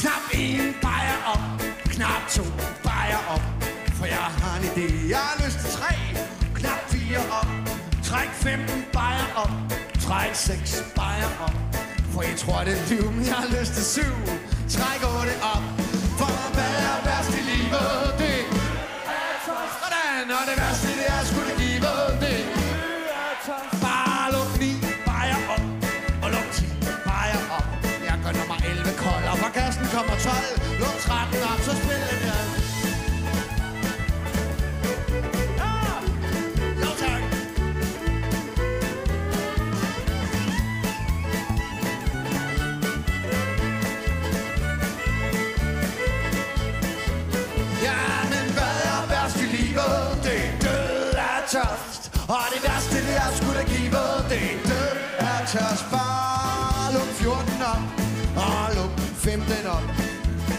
Knap en bajer op, knap to bajer op, for jeg har en idé. Jeg har lyst til tre, knap fire op, træk 15 bajer op, træk seks bajer op, for jeg tror det er liv, men jeg har lyst til syv, træk otte op, for hvad er værst i livet, det er tost. Sådan, og det værste det er skulle give det er tost. Bare luk ni bajer op, og luk 10 bajer op. Jeg gør nummer 11 kold, og fra kassen kommer 12. Luk 13 op, så spiller vi ad. Ah! Jo, tak. Ja, men hvad er værst i livet? Det er død er tørst. Og det værste, det er sgu da givet. Det er død er tørst. Bare luk 14 op. Og luk 15 op.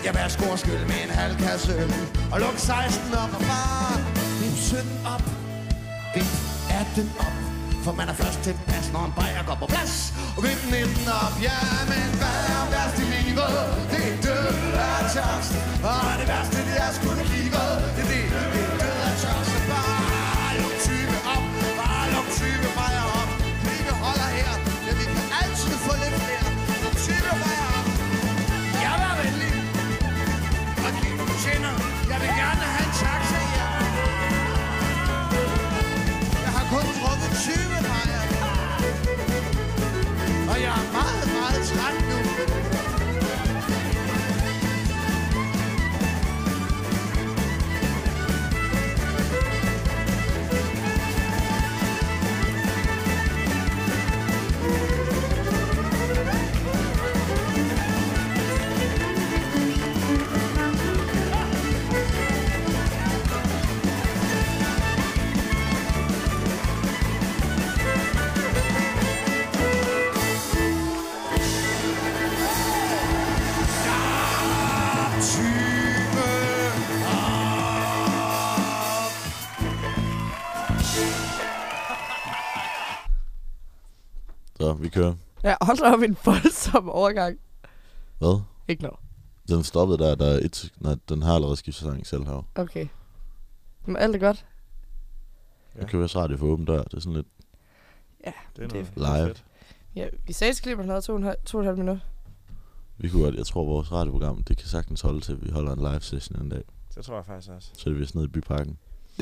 Jeg vil score skyld med en halv kasse øl. Og luk 16 op. Og bare vip 17 op. Vip 18 op. For man er først til pas, når en bajer går på plads. Og vip 19 op. Ja, men hvad er værst i livet? Det er død er tørst. Og det værste, det er sgu da givet. Det er det, det er død er tørst. Så Bare luk 20 op. Bare luk 20 bajer op. Vi holder her. Ja, vi kan altid få lidt flere. Luk 20 bajer op. Jeg var venlig. Og kig på tænder. Jeg vil gerne have en taxa her. Jeg har kun drukket 20 bajer. Og jeg er meget, meget træt nu. Så vi kører. Ja, hold da op en voldsom overgang. Hvad? Ikke noget. Den stoppede der, der er et, nej, den har allerede skiftet sang selv her. Okay. Men alt er godt. Ja. Jeg kører også radio for åben dør, det er sådan lidt Ja, Det er noget. live. ja vi sagde, at klipperne havde to og en halv, to og en halv minut. Vi kunne godt, jeg tror vores radioprogram, det kan sagtens holde til, at vi holder en live session en dag. Det tror jeg faktisk også. Så er det vist nede i byparken.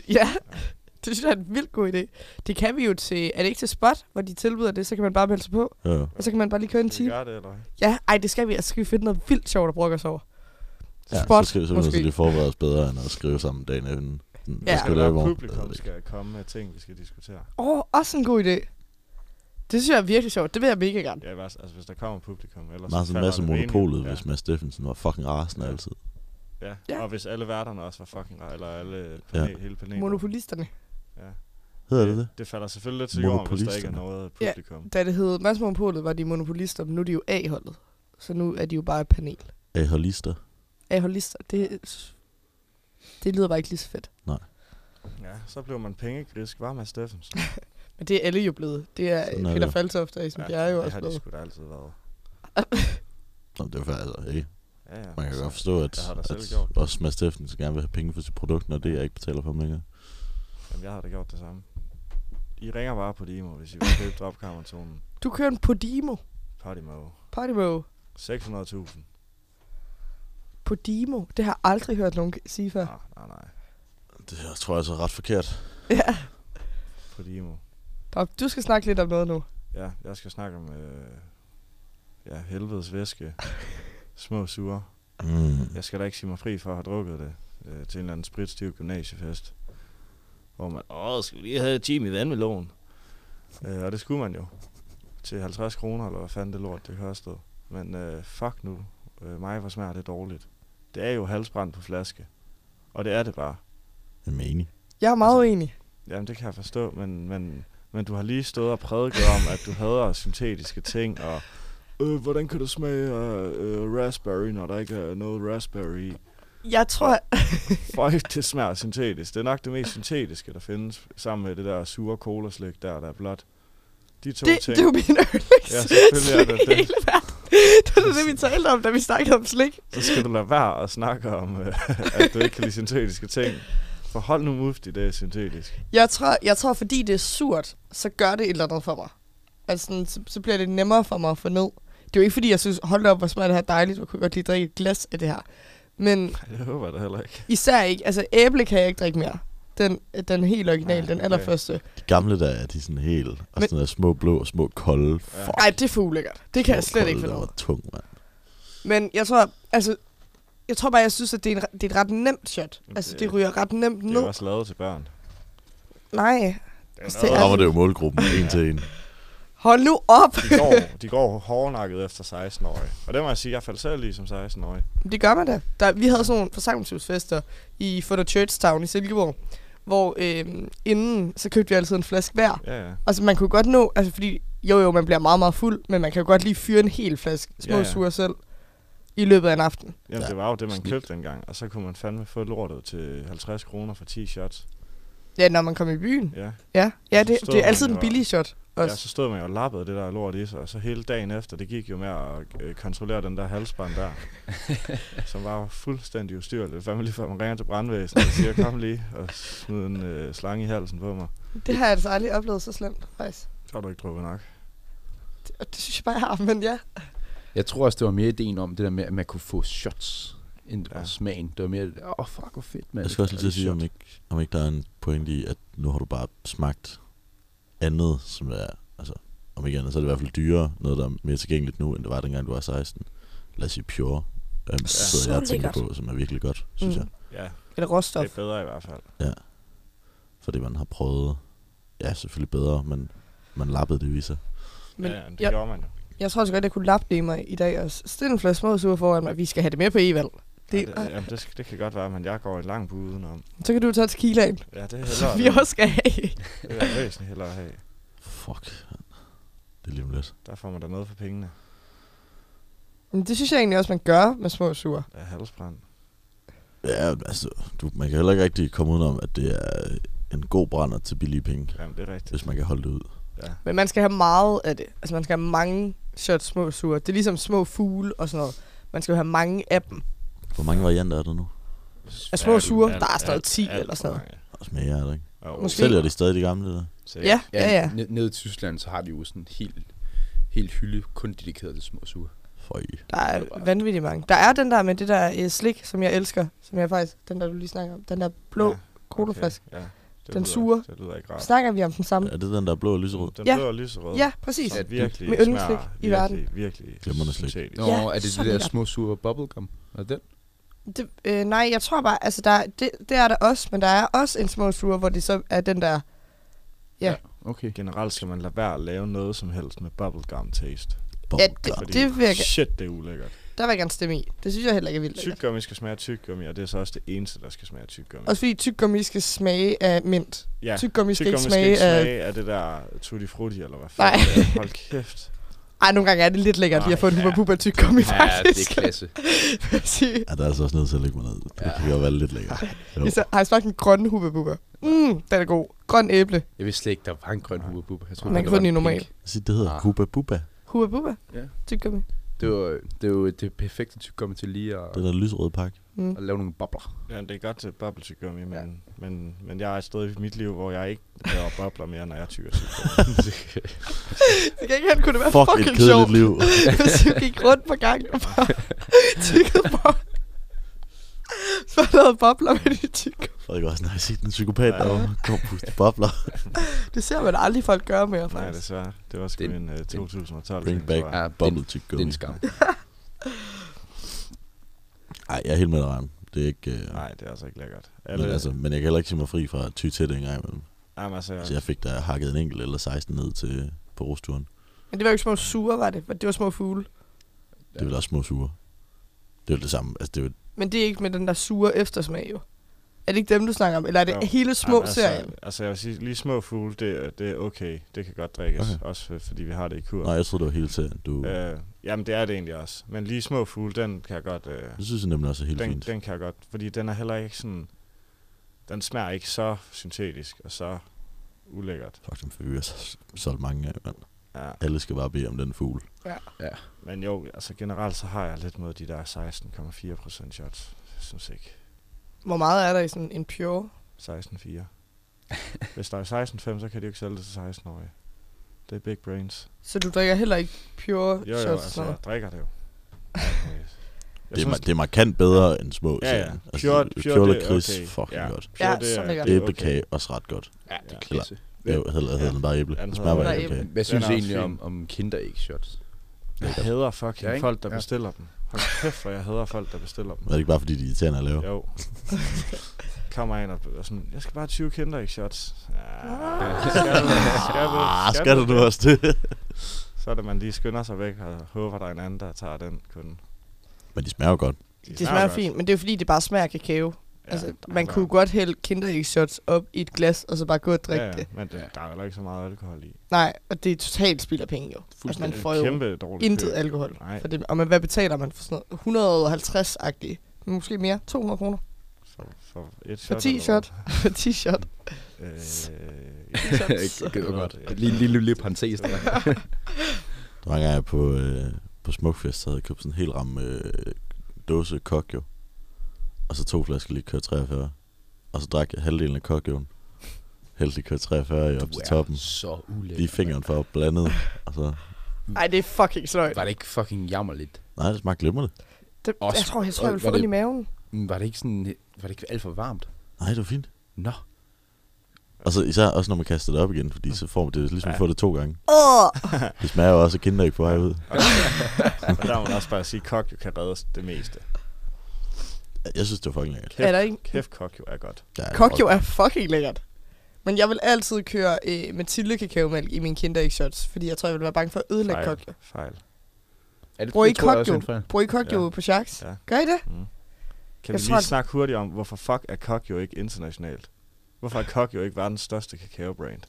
Ja, det synes jeg er en vildt god idé. Det kan vi jo til, er det ikke til spot, hvor de tilbyder det, så kan man bare melde sig på. Ja. Og så kan man bare lige køre en time. Gør det, eller hvad? Ja, ej, det skal vi. Altså, skal vi finde noget vildt sjovt at brokke os over. så skal vi simpelthen så lige forberede os bedre, end at skrive sammen dagen inden. Sådan, Ja. Hvad Skal skal vi lave i morgen? publikum skal komme med ting, vi skal diskutere. Åh, oh, også en god idé. Det synes jeg er virkelig sjovt. Det vil jeg mega gerne. Ja, hvis- altså hvis der kommer publikum, ellers... Man har så sådan en falder masse det meningen. monopolet, hvis Mads Steffensen var fucking rasende altid. Ja. ja. og hvis alle værterne også var fucking... ra- Eller alle panel, ja. hele panelet. Monopolisterne. Ja. Hedder det det? Det falder selvfølgelig lidt til jorden, hvis der ikke er Monopolisterne. noget Ja, publikum. da det hed Mads Monopolet, var de monopolister, men nu er de jo A-holdet. Så nu er de jo bare et panel. Aholister. A-holdister, det, det lyder bare ikke lige så fedt. Ja. ja. så blev man pengegrisk, var man Steffens. Men det er alle jo blevet. Det er Sådan er Peter det. Faltoft og Esben ja, Bjerre jo det også har de blevet. sgu da altid været. Nå, det var faktisk, altså, hey. Ja, altså, ja. Man kan Så godt forstå, at, jeg har da selv gjort at det. også Mads Steffensen gerne vil have penge for sit produkt, når det jeg ikke betaler for ham længere. Jamen, jeg har da gjort det samme. I ringer bare på Dimo, hvis I vil købe dropkammertonen. Du kører en Podimo. Podimo. Podimo. 600.000. Podimo. Det har jeg aldrig hørt nogen sige før. Nej, Ah, nej, nej. Det her tror jeg altså er ret forkert. Ja. Podimo. Nå, Du skal snakke lidt om noget nu. Ja, jeg skal snakke om øh, ja, helvedes væske. Små sure. Mm. Jeg skal da ikke sige mig fri for at have drukket det øh, til en eller anden spritstiv gymnasiefest. Hvor man, åh, skal vi lige have 10 i vandmelon? Øh, og det skulle man jo. Til 50 kroner, eller hvad fanden det lort, det kostede. Men øh, fuck nu. Øh, mig, hvor smager det dårligt. Det er jo halsbrand på flaske. Og det er det bare. Jeg er enig. Jeg er meget uenig. Jamen, det kan jeg forstå, men, men, men du har lige stået og prædiket om, at du hader syntetiske ting, og øh, hvordan kan du smage øh, øh, raspberry, når der ikke er noget raspberry i? Jeg tror... Fuck, det smager syntetisk. Det er nok det mest syntetiske, der findes, sammen med det der sure colaslik der, der er blåt. De to Det, ting. det er jo min yndlings Ja, selvfølgelig er det det. slik i hele verden. Det var det, vi talte om, da vi snakkede om slik. Så skal du lade være at snakke om, øh, at du ikke kan lide syntetiske ting. For hold nu mufti, det er syntetisk. Jeg tror, jeg tror, fordi det er surt, så gør det et eller andet for mig. Altså, sådan, så, så bliver det nemmere for mig at få ned. Det er jo ikke, fordi jeg synes, hold da op, hvor smager det her dejligt, hvor kunne jeg godt lige drikke et glas af det her. Men Jeg håber det heller ikke. især ikke, altså æble kan jeg ikke drikke mere. Den, den helt originale, den allerførste. De gamle der er de sådan helt, og Men- sådan der små blå og små kolde. Fuck, Nej, det er for ulækkert. Det kan jeg slet finde ikke finde ud af. var tung, mand. Men jeg tror, altså, jeg tror bare, jeg synes, at det er, en, re- det er et ret nemt shot. Altså, det- det ryger ret nemt Det er jo ned. også lavet til børn. Nej. Altså, det Så rammer er, det jo målgruppen en til en. hold nu op! De går, de går hårdnakket efter 16-årige. Og det må jeg sige, jeg faldt selv i som 16-årig. Det gør man da. Der, vi havde sådan nogle forsamlingshusfester i For the Church Town i Silkeborg, hvor øh, inden, så købte vi altid en flaske hver. Ja, ja. Altså, man kunne godt nå, altså fordi, jo jo, man bliver meget, meget fuld, men man kan jo godt lige fyre en hel flaske små Ja, ja, ja. ja. sure selv i løbet af en aften. Jamen, ja. det var jo det, man købte dengang. Og så kunne man fandme få lortet til 50 kroner for 10 shots. Ja, når man kom i byen. Ja. Ja, Så ja det, stod det er man altid jo den og- billige shot. Også. Ja, så stod man jo og lappede det der lort i sig, og så hele dagen efter, det gik jo med at øh, kontrollere den der halsbånd der, som var jo fuldstændig ustyrlig. Det var fandme lige før, man ringer til brandvæsenet og siger, kom lige og smid en øh, slange i halsen på mig. Det har jeg altså aldrig oplevet så slemt, faktisk. Så har du ikke drukket nok. Det, og det synes jeg bare, jeg har, men ja. Jeg tror også, det var mere ideen om det der med, at man kunne få shots, end ja. smagen. Det var mere, åh oh, fuck, hvor fedt, mand. Jeg skal også lige til at sige, Shot. om ikke, om ikke der er en pointe i, at nu har du bare smagt andet, som er, altså, om ikke andet, så er det i hvert fald dyrere, noget, der er mere tilgængeligt nu, end det var dengang, du var 16. Lad os sige Pure, øhm, ja. Så sidder jeg og tænker lækkert. på, som er virkelig godt, synes Mm. mm. jeg. Ja. Eller råstof. Det er bedre i hvert fald. Ja. Fordi man har prøvet, ja, selvfølgelig bedre, men man lappede det i sig. Men ja, det jeg- gjorde man jo. Jeg tror også godt, jeg kunne lappe det i mig i dag også. Stil en flaske små sure foran mig. Vi skal have det med på Evald. Det, Det, ja, det, jamen, det, sk- det kan godt være, men jeg går en lang bud udenom. Så kan du tage tequilaen. Ja, det er Som hellere. vi også skal have. Det vil jeg væsentligt hellere have. Fuck, mand. det er lige om lidt. Der får man da noget for pengene. Men det synes jeg egentlig også, man gør med små sure. Der er halsbrand. Ja, altså, du, man kan heller ikke rigtig komme udenom, at det er en god brænder til billige penge. Jamen, det er rigtigt. Hvis man kan holde det ud. Ja. Men man skal have meget af det. Altså, man skal have mange shots små sure. Det er ligesom små fugle og sådan noget. Man skal jo have mange af dem. Hvor mange varianter er der nu? Af små sure, der er stadig 10 eller sådan noget. Også mere er der ikke? Jo. Måske. Sælger de stadig de gamle der? Sikkert. Ja, ja, ja. Ned, nede i Tyskland, så har de jo sådan en helt, helt hylde, kun dedikeret til små sure. For i. Der er vanvittigt mange. Der er den der med det der øh, slik, som jeg elsker. Som jeg faktisk, den der du lige snakker om. Den der blå ja, colaflaske. ja. Det Den lyder- sure. det lyder ikke rart. Snakker vi om den samme? Er det den, der er blå og lyserød? Den Ja. blå og lyserød. Ja, præcis. Som virkelig Med smager yndlingsslik i virkelig, verden. Virkelig Glimrende slik. syntetisk. Nå, Ja, er det så de der lækkert. små sure bubblegum? Er det den? Det, øh, nej, jeg tror bare, altså der, det, det er der også, men der er også en små sure, hvor det så er den der... Ja, ja, Okay. Generelt skal man lade være at lave noget som helst med bubblegum taste. ja det, det virker, Shit, det er ulækkert. der vil jeg gerne stemme i. Det synes jeg heller ikke er vildt lækkert. Tyggegummi skal smage af tyggegummi, og det er så også det eneste, der skal smage af tyggegummi. Også fordi tyggegummi skal smage af mint. Ja, tyggegummi skal ikke tyggegummi smage af... af det der tutti frutti, eller hvad Nej. fanden det er. Hold kæft. Ej, nogle gange er det lidt lækkert lige at få en hubba bubba tyggegummi, Ja, det er faktisk. klasse. Vil jeg sige. Ja, der er altså også nødt til at lægge mig ned. Det kan jo være lidt lækkert. Jo. Især, har jeg smagt den grønne hubba bubba? Mm, den er god. Grøn æble. Jeg vidste slet ikke, der var en grøn hubba bubba. Jeg troede, der Man kan var få den i en normal. pink. Så det hedder Kuba Buba. Hubba bubba. Ja. Tyggegummi. Det var, det var det perfekte tyggegummi til lige at... Det der lyserøde pakke. Mm. og lave nogle bobler. Ja, det er godt til bobletygummi, men, ja. men, men jeg er et sted i mit liv, hvor jeg ikke laver bobler mere, når jeg tykker tyggegummi. Det kan ikke han kunne det være Fuck, et fucking kedeligt sjovt, liv. hvis du gik rundt på gangen og bare tykkede på. Så lavede bobler med de tykke. Frederik også, når jeg set en psykopat derovre, kom puste bobler. Det ser man aldrig folk gøre mere, Nej, faktisk. desværre. Det var sgu en uh, 2012. Bring ting, back tror jeg. Ja, bubble det- tyggegummi. det er en skam. Ej, jeg er helt med dig, Ryan. Det er ikke... Øh, Nej, det er altså ikke lækkert. men, altså, men jeg kan heller ikke sige mig fri fra at ty til det engang imellem. Jamen, altså, Så jeg fik da hakket en enkelt eller 16 ned til på rosturen. Men det var jo ikke små sure, var det? Det var små fugle. Det er vel også små sure. Det er jo det samme. Altså, det er jo, Men det er ikke med den der sure eftersmag, jo. Er det ikke dem, du snakker om? Eller er det Jo. hele små altså, serien? Altså, jeg vil sige, lige små fugle, det, er- det er okay. Det kan godt drikkes, Okay. okay. også øh, fordi vi har det i kur. nej, jeg troede, det var hele serien. Du, øh, Øh, jamen, det er det egentlig også. Men lige små fugle, den kan jeg godt... Øh, det synes jeg nemlig også er helt den, fint. den kan jeg godt, fordi den er heller ikke sådan... Den smager ikke så syntetisk og så ulækkert. Fuck, dem får vi også solgt mange af, mand. Ja. Alle skal bare bede om den fugl. Ja. Ja. Men jo, altså generelt så har jeg lidt mod de der 16,4% shots. Jeg synes ikke. Hvor meget er der i sådan en pure? 16,4. Hvis der er 16,5, så kan de jo ikke sælge det til 16-årige. Det er big brains. Så du drikker heller ikke pure Jo, shots? jo, altså, sådan noget? jeg drikker det jo. Det er, ma- det er markant bedre end små Ja, ja. serien. Altså, Pure- pure, det er lakrids, okay. fucking Ja. godt. Pure, Ja, det så er- lækkert. Det det er er æblekage også ret godt. Ja, det er Eller- klasse. Jeg hedder, hedder den bare æble. Ja, den Det smager hedder bare bare æble. Hvad Den synes er I også egentlig fin. om, om kinder ikke shots? Jeg hader fucking Ja, ja, ikke? folk, der Ja. ja. bestiller dem. Hold kæft, hvor jeg hader folk, der bestiller dem. Er det ikke bare fordi, de er irriterende at lave? Jo. Kommer ind og, og sådan, jeg skal bare have 20 kinder i shots. Ah. Ja, skal, du, skal, du, Ah, skal du nu også det? Så er det, man lige skynder sig væk og håber, der er en anden, der tager den kunde. Men de smager jo godt. Det smager fint, men det er jo fordi, det bare smager af kakao. Ja, altså, man kunne godt hælde kinderæg shots op i et glas, og så bare gå og drikke drikke ja, det. Men det, der er heller ikke så meget alkohol i. Nej, og det er totalt spild af penge jo. Altså, man Fuldstændig. får jo Kæmpe dårligt intet køb. alkohol. Nej. For det, og man, hvad betaler man for sådan noget? 150-agtigt. Måske mere. 200 kroner. For, for et shot. For 10 eller hvad? shot. For 10 shot. Øh, Jeg gider godt. Ja. Lige lille, lille parentes der. Der var en gang jeg på, øh, på Smukfest, så havde jeg købt sådan en hel ram øh, dåse kokjo. Og så to flasker lige kør 43. Og så drak jeg halvdelen af kokjoen. Hældte lige kør 43 i op Du til er toppen. så ulækker, Lige fingeren for Altså, op blandet. Og så, Mm. Ej, det er fucking sløjt. Var det ikke fucking jammerligt? nej, det smagte glimrende. Det, Også- jeg tror, jeg, tror, og jeg vil var få den i det- maven. Mm, Var det ikke sådan, var det ikke alt for varmt? Nej, det var fint. Nå. Og så især også, når man kaster det op igen, fordi så får man det ligesom, ja. får det to gange. Åh! Det smager jo også af kinder ikke på vej ud. Og der må man også bare sige, at kok jo kan redde det meste. Jeg synes, det var fucking lækkert. Kæft, Er der ikke- kæft kok jo er godt. Ja, det var Kokjo er fucking lækkert. Men jeg vil altid køre øh, Mathilde kakaomælk i mine kinderæg shots, fordi jeg tror, jeg vil være bange for at ødelægge Fejl. kokjo. Fejl. Er det, Bruger I det tror jeg også er en kokjo? fejl. Bruger I kokjo Ja. på Sharks? Ja. Gør I det? Mm. Kan Jeg vi tror, lige at- snakke hurtigt om, hvorfor fuck er kok jo ikke internationalt? Hvorfor er kok jo ikke verdens største kakao-brand?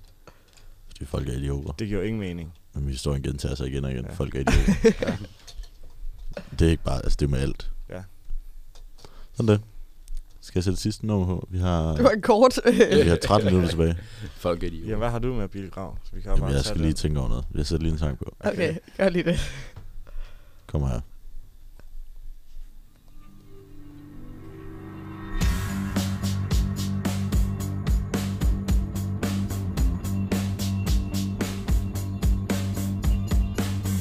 Fordi folk er idioter. Det giver jo ingen mening. Men historien gentager sig igen og igen. Ja. Folk er idioter. det er ikke bare, altså det er med alt. Ja. Sådan det. Skal jeg sætte sidste nummer på? Vi har, Det var en kort. vi har 13 minutter tilbage. Folk er de Jamen, hvad har du med Billy Grav? Så vi kan jo Jamen, bare jeg tage skal lige den. tænke over noget. Jeg sætter lige en sang på. okay, gør lige det. Kom her.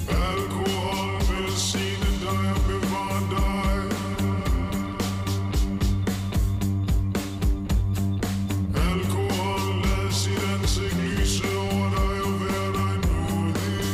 Alkohol, velsigne dig og bevare dig. Alkohol, lad sit ansigt lyse over dig og være dig nådig.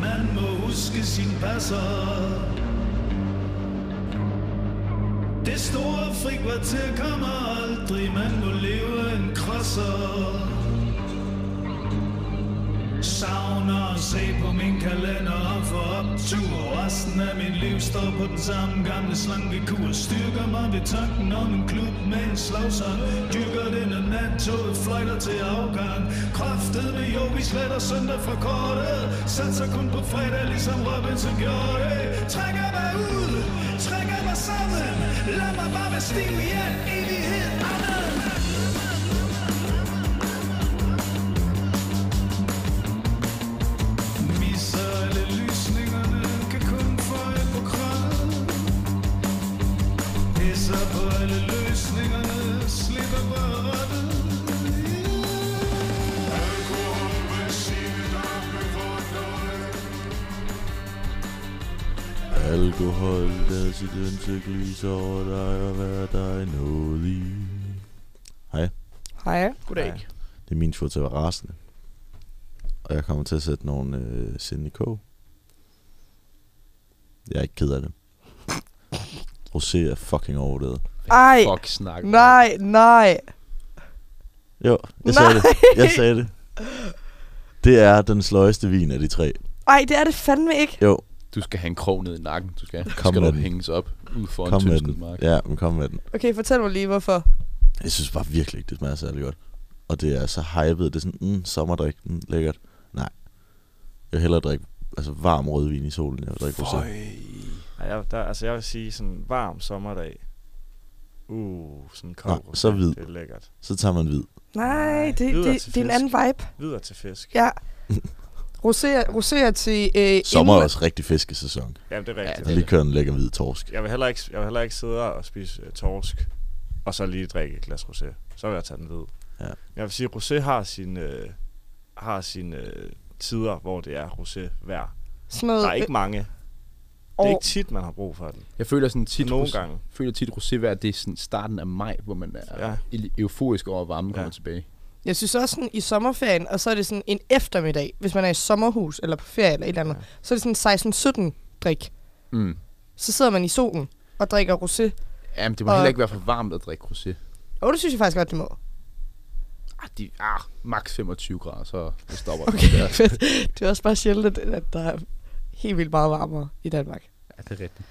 man må huske sin passer. Det store frikvarter kommer aldrig, man må leve en krosser. Savner at se på min kalender og få optur Resten af min liv står på den samme gamle slanke kur Styrker mig ved tanken om en klub med en slagsang Dyrker den af nattoget fløjter til afgang Kræftet med jo, vi sletter søndag fra kortet Satser kun på fredag, ligesom Robinson gjorde det Trækker mig ud, trækker mig sammen Lad mig bare være stiv i en evighed andet Misser alle lysningerne, kan kun få et på kravet. Pisser på alle løsningerne, slipper bare rettet. Alkohol, benzin, der blev vort noget. Alkohol, der sit ønske lyser over dig og vær dig nådig. Hej. Hej. Goddag. Det er min tur til at være rasende. Og jeg kommer til at sætte nogle øh, sind i kog. Jeg er ikke ked af det. Rosé er fucking overvurderet. Ej. Fuck snak. Nej, nej. Jo, jeg sagde Nej. det. Jeg sagde det. Det er den sløjeste vin af de tre. Ej, det er det fandme ikke. Jo, Du skal have en krog ned i nakken. Du skal, Kom Kom skal med du den. hænges op ud for kom en med tyndskud den. mark. Ja, men kom med den. Okay, fortæl mig lige, hvorfor. Jeg synes bare virkelig ikke, det smager særlig godt. Og det er så hypet. Det er sådan, mm, sommerdrik, mm, lækkert. Nej. Jeg vil hellere drikke altså, varm rødvin i solen, jeg vil drikke rosé. Ej, jeg, der, altså jeg vil sige sådan varm sommerdag. Uh, sådan kold. Nå, så rosé, hvid. Det er lækkert. Så tager man hvid. Nej, det, videre det, til det, det er en fisk. anden vibe. Videre til fisk. Ja. Rosé, rosé er til... Øh, Sommer er inden- også rigtig fiskesæson. Jamen, det er rigtigt. Der lige kører en lækker hvid torsk. Jeg vil heller ikke, jeg vil heller ikke sidde og spise øh, torsk, og så lige drikke et glas rosé. Så vil jeg tage den ved. Ja. Jeg vil sige, at rosé har sin, øh, har sin øh, tider, hvor det er rosé hver. Sådan noget- Der er ikke mange. Det Og- er ikke tit, man har brug for den. Jeg føler sådan tit, Nogle rosé- gange. føler tit rosévejr, det er sådan starten af maj, hvor man er Ja. ja. euforisk over, at varmen ja. kommer tilbage. Jeg synes også sådan, i sommerferien, og så er det sådan en eftermiddag, hvis man er i sommerhus eller på ferie eller et eller andet, ja. så er det sådan 16-17 drik. Mm. Så sidder man i solen og drikker rosé. Jamen, det må Og- og... heller ikke være for varmt at drikke rosé. Og det synes jeg faktisk godt, det må. Ah, de, ah, max 25 grader, så det stopper Okay, det. fedt. Det er også bare sjældent, at der er helt vildt meget varmere i Danmark. Ja, det er rigtigt.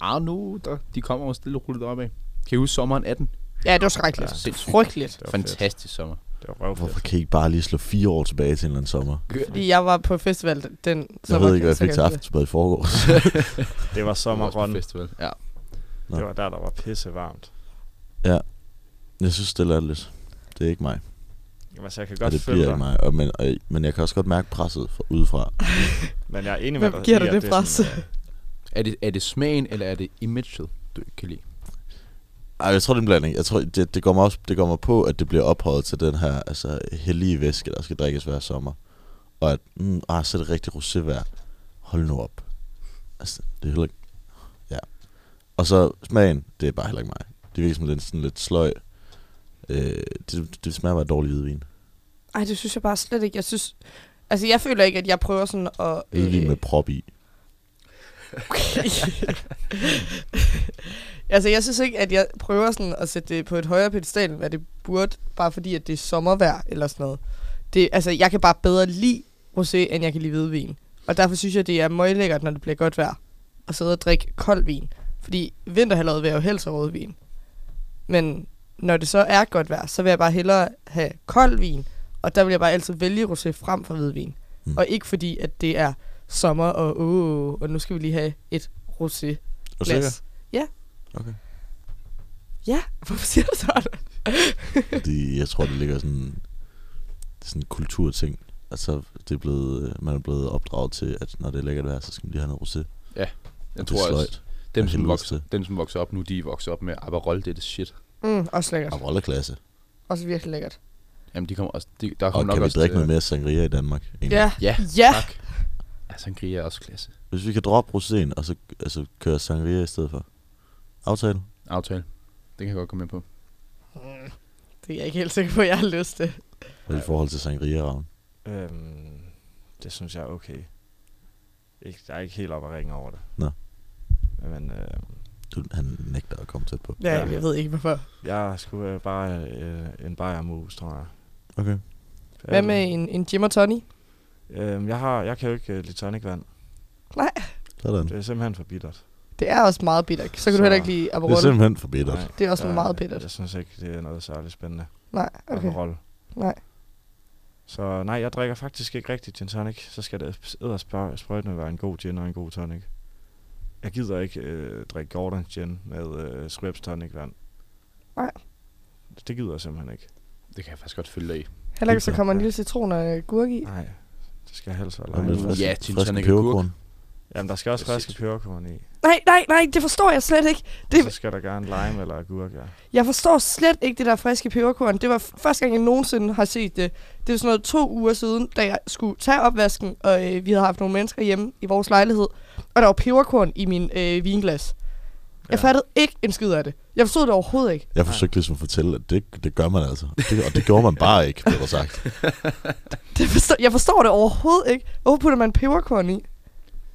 Ah, nu, der, de kommer jo stille og roligt opad. Kan I huske sommeren 18? Ja, det var skrækkeligt. Ja, sindssygt. Frygteligt. Det var fedt. Fantastisk sommer. Det var røvfedt. Hvorfor kan I ikke bare lige slå fire år tilbage til en eller anden sommer? Fordi jeg var på festival den- den Jeg sommer. ved ikke, hvad jeg så fik til kan huske aftensmad i forgårs. Det var sommergrøn. Festival, ja. Det var der, der var pisse varmt. ja. Jeg synes, det er lidt. Det er ikke mig. Jamen, altså, jeg kan Og godt det følge bliver dig. ikke mig. Og, men, og, men jeg kan også godt mærke presset fra, udefra. Men jeg er enig med Hvem dig giver i, dig at det er pres? sådan, øh, Er det, er det smagen, eller er det imaget, du ikke kan lide? Ej, jeg tror, det er en blanding. Jeg tror, det, det, går mig også, det går mig på, at det bliver ophøjet til den her altså, hellige væske, der skal drikkes hver sommer. Og at, mm, ah, så er det rigtig rosévejr. Hold nu op. Altså, det er heller ikke... Ja. Og så smagen, det er bare heller ikke mig. Det virker som lidt, sådan lidt sløj. Øh, det, det smager bare af dårlig hvidvin. Ej, det synes jeg bare slet ikke. Jeg synes... Altså, jeg føler ikke, at jeg prøver sådan at... øh, Hvidvin med prop i. altså, jeg synes ikke, at jeg prøver sådan at sætte det på et højere pedestal, end hvad det burde, bare fordi, at det er sommervejr eller sådan noget. Det, altså, jeg kan bare bedre lide rosé, end jeg kan lide hvidvin. Og derfor synes jeg, det er møglækkert, når det bliver godt vejr, at sidde og drikke kold vin. Fordi vinterhalvåret vil jeg jo helst have rødvin. Men når det så er godt vejr, så vil jeg bare hellere have kold vin, og der vil jeg bare altid vælge rosé frem for hvidvin. Mm. Og ikke fordi, at det er sommer, og åh, og nu skal vi lige have et rosé Er du glas. sikker? Ja. Okay. Ja, hvorfor siger du sådan? Fordi jeg tror, det ligger sådan... Det er sådan en kulturting. Altså, det er blevet, man er blevet opdraget til, at når det er lækkert vejr, så skal man lige have noget rosé. Ja, jeg Og det tror er også, sløjt. Altså, dem Jeg som, kan vokser, dem som vokser op nu, de vokser op med Aperol, det er det shit. Mm, også lækkert. Altså, Aperol er klasse. Også virkelig lækkert. Jamen, de kommer også... De, der Og kommer nok øh, kan vi også drikke til- noget mere sangria i Danmark? egentlig? Ja. Ja, Ja. tak. Ja, sangria er også klasse. Hvis vi kan droppe roséen, og så altså, køre sangria i stedet for. Aftale? Aftale. Det kan jeg godt komme med på. Mm, det er jeg ikke helt sikker på, at jeg har lyst til. Hvad er i forhold til sangria, Ravn? Øhm, det synes jeg er okay. ikke, jeg er ikke helt oppe at ringe over det. Nå. Men, øh, Du, han nægter at komme tæt på. Ja, jeg ved ikke, hvorfor. Jeg skulle øh, bare øh, en bajer mus, tror jeg. Okay. Hvad med en, en Jim og Tony? Øhm, jeg, har, jeg kan jo ikke øh, lide tonicvand. Nej. Sådan. Det er simpelthen for bittert. Det er også meget bittert. Så kan så, du heller ikke lide Aperol. altså. Nej, Det er også jeg- meget bittert. Øh, Jeg synes ikke, det er noget særligt spændende. Nej, okay. Aperol. Nej. Så nej, jeg drikker faktisk ikke rigtig gin tonic. Så skal det eddersprøjtende være en god gin og en god tonic. Jeg gider ikke øh, drikke Gordons gin med øh, Scripps tonic vand. Nej. Det gider jeg simpelthen ikke. Det kan jeg faktisk godt følge dig i. Heller ikke, så kommer en lille citron og gurk i. Nej, det skal helst være Og lidt frisk- Ja, gin friske tonic og peberkorn. Jamen, der skal også friske peberkorn i. Nej, nej, nej, det forstår jeg slet ikke. Det... Så skal der gerne lime eller agurk, ja. Jeg forstår slet ikke det der friske peberkorn. Det var f- første gang, jeg nogensinde har set det. Det er sådan noget to uger siden, da jeg skulle tage opvasken, og øh, vi havde haft nogle mennesker hjemme i vores lejlighed, og der var peberkorn i min øh, vinglas. Jeg fattede ikke en skid af det. Jeg forstod det overhovedet ikke. Jeg forsøgte ligesom at fortælle, at det, det gør man altså. Det, og det gjorde man bare ikke, blev der sagt. Det forstår, jeg forstår det overhovedet ikke. Hvorfor putter man peberkorn i?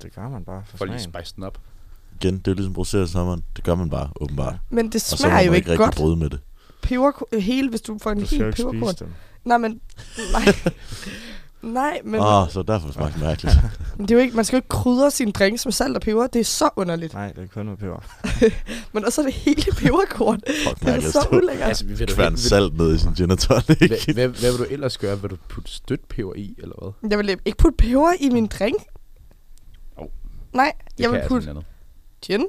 Det gør man bare for, for lige spice den op. Igen, det er jo ligesom bruseret sommeren. Det gør man bare, åbenbart. Men det Og så må smager jo man ikke rigtig godt. bryde med det. Peberkorn, hele, hvis du får en Du skal jo hel ikke spise peberkorn. dem. Nej, men... Nej. nej, men... Åh, oh, så derfor smagte det mærkeligt. Men det er jo ikke, man skal jo ikke krydre sine drinks med salt og peber. Det er så underligt. Nej, det er kun med peber. Men også er det hele peberkorn. det er Mærkeligt. så ulækkert. Altså, vi ved da Kværn ikke, vi- salt ned i sin gin og tonic. Hvad, hvad, hvad vil du ellers gøre? Vil du putte støtpeber i, eller hvad? Jeg vil ikke putte peber i min drink. Jo. Nej, jeg kan vil jeg putte sådan gin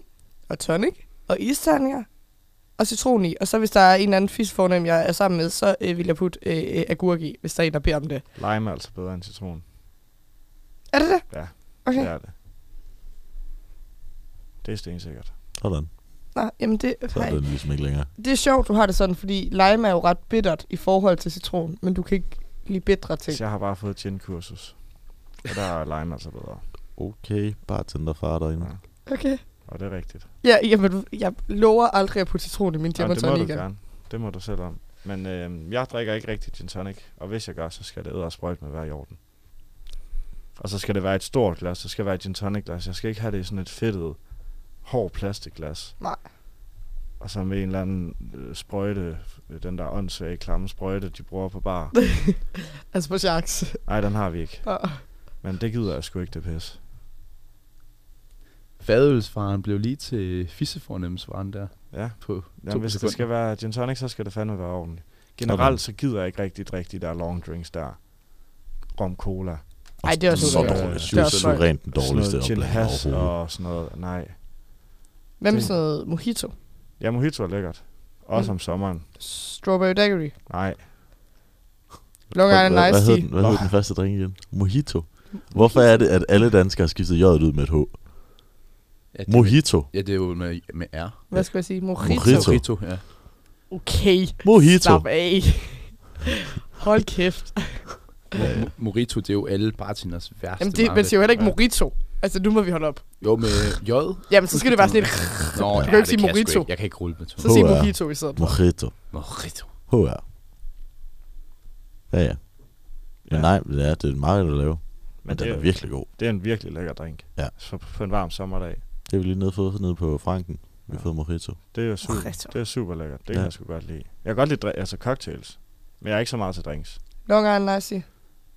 og tonic og isterninger og citron i. Og så hvis der er en eller anden fisk fornem, jeg er sammen med, så øh, vil jeg putte øh, øh, agurk i, hvis der er en, der beder om det. Lime er altså bedre end citron. Er det det? Ja, Okay. det er det. Det er stensikkert. Sådan. Nej, jamen det... Så er nej. det ligesom ikke længere. Det er sjovt, du har det sådan, fordi lime er jo ret bittert i forhold til citron, men du kan ikke lide bitre ting. Så jeg har bare fået gin-kursus. Og der er lime altså bedre. Okay, bartenderfar derinde. Okay. Og det er rigtigt. Ja, jamen, jeg lover aldrig at putte citron i min Ej, gin og det må tonic du igen. gerne. Det må du selv om. Men øh, jeg drikker ikke rigtig gin tonic, og hvis jeg gør, så skal det æder sprøjt med hver i orden. Og så skal det være et stort glas, så skal det være et gin tonic glas. Jeg skal ikke have det i sådan et fedtet, hård plastikglas. Nej. Og så med en eller anden øh, sprøjte, øh, den der åndssvage klamme sprøjte, de bruger på bar. Altså på chaks. Nej, den har vi ikke. Ah. Men det gider jeg sgu ikke, det pis. Fadølsfaren blev lige til fissefornemmelsvaren der. Ja. På Jamen, to hvis sekunder. det skal være gin tonic, så skal det fandme være ordentligt. Generelt så gider jeg ikke rigtig drikke de der long drinks der. Rom cola. Ej, det er også Altså, Så ulækkert. dårligt. Det er også Suverænt løgn. den dårligste Sådan noget opblanding gin has overhovedet. og sådan noget. Nej. Hvad med Det- sådan noget mojito? Ja, mojito er lækkert. Også Mm. om sommeren. Strawberry daiquiri? Nej. Long Hvad- Island hvad- Ice Hvad hed Tea? den, hvad hed den første drink igen? Mojito. Hvorfor er det, at alle danskere har skiftet J'et ud med et H? Ja, det- Mojito. Ja, det er jo med, med R. Hvad skulle jeg sige? Mojito? Mojito. Mojito, ja. Okay. Mojito. Slap af. Hold kæft. Mo- Mojito, det er jo alle bartenders værste Jamen, det, man siger jo heller ikke Ja. mojito. Altså, nu må vi holde op. Jo, med J. Jamen, så skal det være sådan et... Nå, du ja, kan jo det ikke sige kan jeg sgu mojito. ikke. Jeg kan ikke rulle med to. Så sig HR. mojito i stedet for. Mojito. Mojito. HR. Ja, ja. Men nej, det er, det er meget at lave. Men, den det er virkelig god. Det er en virkelig lækker drink. Ja. Så på en varm sommerdag. Det har vi lige nede fået nede på Franken. Vi har fået mojito. Det er jo super, Mojito. det er super lækkert. Det kan Ja. jeg sgu godt lide. Jeg kan godt lide dri- altså cocktails. Men jeg er ikke så meget til drinks. Long Island Ice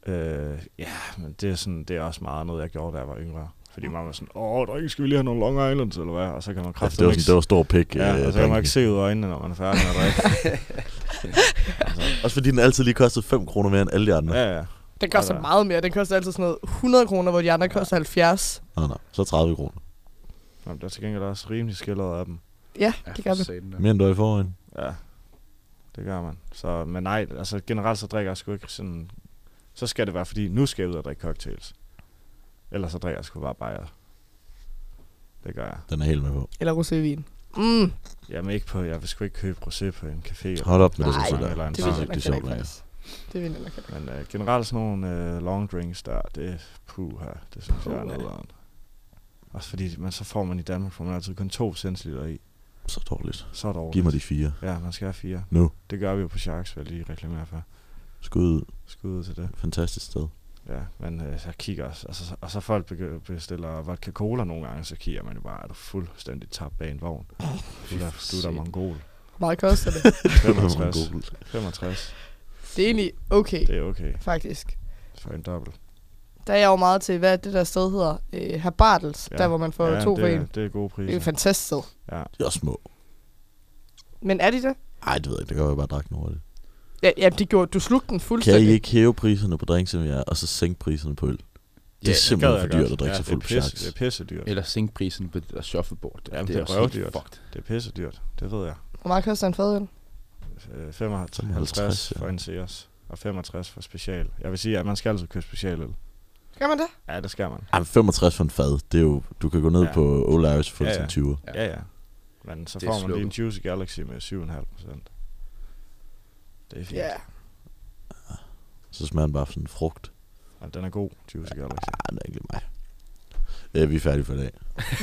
Tea. Øh, ja, men det er, sådan, det er også meget noget, jeg gjorde, da jeg var yngre. Fordi man var sådan, åh, drenge, skal vi lige have nogle Long Islands, eller hvad? Og så kan man det var ikke- sådan- det var stor pik, øh, Ja, og så kan man drinken. ikke se ud af øjnene, når man er færdig med at drikke. Også fordi den altid lige kostede 5 kroner mere end alle de andre. ja, ja. Den koster Altså. meget mere. Den koster altid sådan noget 100 kroner, hvor de andre koster 70. Nå, nå. Så 30 kroner. Jamen, der er til gengæld også rimelig skildret af dem. Ja, det gør vi. Mere end du er i forvejen. Ja, det gør man. Så, men nej, altså generelt så drikker jeg sgu ikke sådan... Så skal det være, fordi nu skal jeg ud og drikke cocktails. Ellers så drikker jeg sgu bare bajer. Det gør jeg. Den er helt med på. Eller rosévin. Mm. Jamen ikke på, jeg vil sgu ikke købe rosé på en café. eller- Hold op med det, eller Cecilia. en bar. Det synes jeg ikke, det er sjovt længere. Det vil jeg nok Men øh, generelt sådan nogle øh, long drinks der, det er puha, det synes jeg er Puha. nederen. Også fordi man, så får man i Danmark, får man altid kun to centiliter i. Så dårligt. Så dårligt. Giv mig de fire. Ja, man skal have fire. Nu. Det gør vi jo på Sharks, vil jeg lige reklamere for. Skud ud. Skud ud til det. Fantastisk sted. Ja, men øh, så kigger også, og så, og så folk begynder, bestiller vodka cola nogle gange, så kigger man jo bare, er du fuldstændig tabt bag en vogn. Du er da, du er da satan. mongol. Meget koster det. 65. Mongol. 65. Det er egentlig okay, Det er okay. faktisk. For en dobbelt. Der er jeg jo meget til, hvad det der sted hedder, øh, Herr Bartels, ja. der hvor man får ja, to det for er- en. Det er gode priser. Det er et fantastisk sted. Ja. De er også små. Men er de det? Ej, det ved jeg ikke. Det kan godt være, jeg bare drak den hurtigt. Ja, ja det gjorde, du slugte den Kan fuldstændig. I ikke hæve priserne på drinks, som jeg er, og så sænke priserne på øl? Det er simpelthen for dyrt at drikke sig fuld på pisse, Det er sharks. pisse dyrt. Eller sænke prisen på det der shuffleboard. Jamen, det, det er røvdyrt. Det er pisse dyrt. Det ved jeg. Hvor meget koster en fadøl? Øh, 55 for en Sears og 65 for special. Jeg vil sige, at man skal altid købe specialøl. Gør man det? Ja, det skal man. Ej, men 65 for en fad. Det er jo, du kan gå ned Ja. ja. på Old Irish for ja, ja, ja. 20. Ja, ja. Men så Det det er får man lige en slukket. Juicy Galaxy med 7,5 procent. Det er fint. Ja. Så smager den bare af sådan en frugt. Og den er god, Juicy Galaxy. Ej, det er ikke lige mig. Øh, vi er færdige for i dag.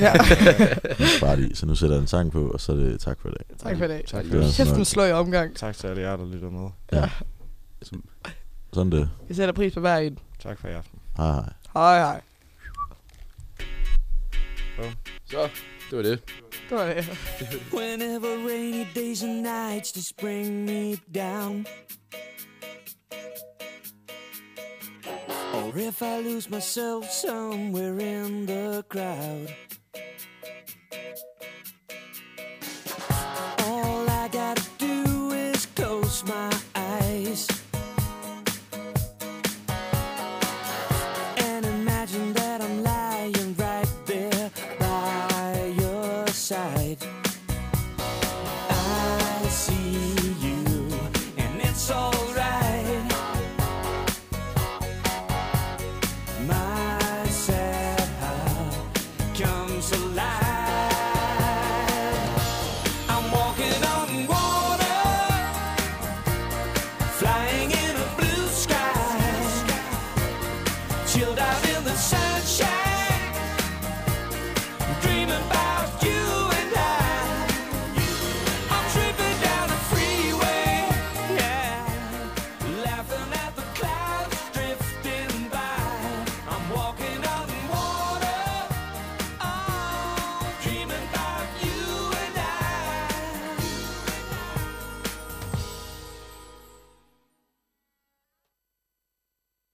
Ja. Vi sparer i, så nu sætter jeg en sang på, og så er det tak for i dag. tak for i dag. Tak for Det var Kæft, sådan den noget. slår i omgang. Tak til alle jer, der lytter med. Ja. Sådan det. Vi sætter pris på hver en. Tak for i aften. Hej hej. Hej hej. Så, det var det. Det var det. Whenever rainy days and nights just bring me down. Or if I lose myself somewhere in the crowd. All I gotta do is close my eyes. and imagine that I'm lying right there by your side. I see you, and it's alright. My sad heart comes alive. oh,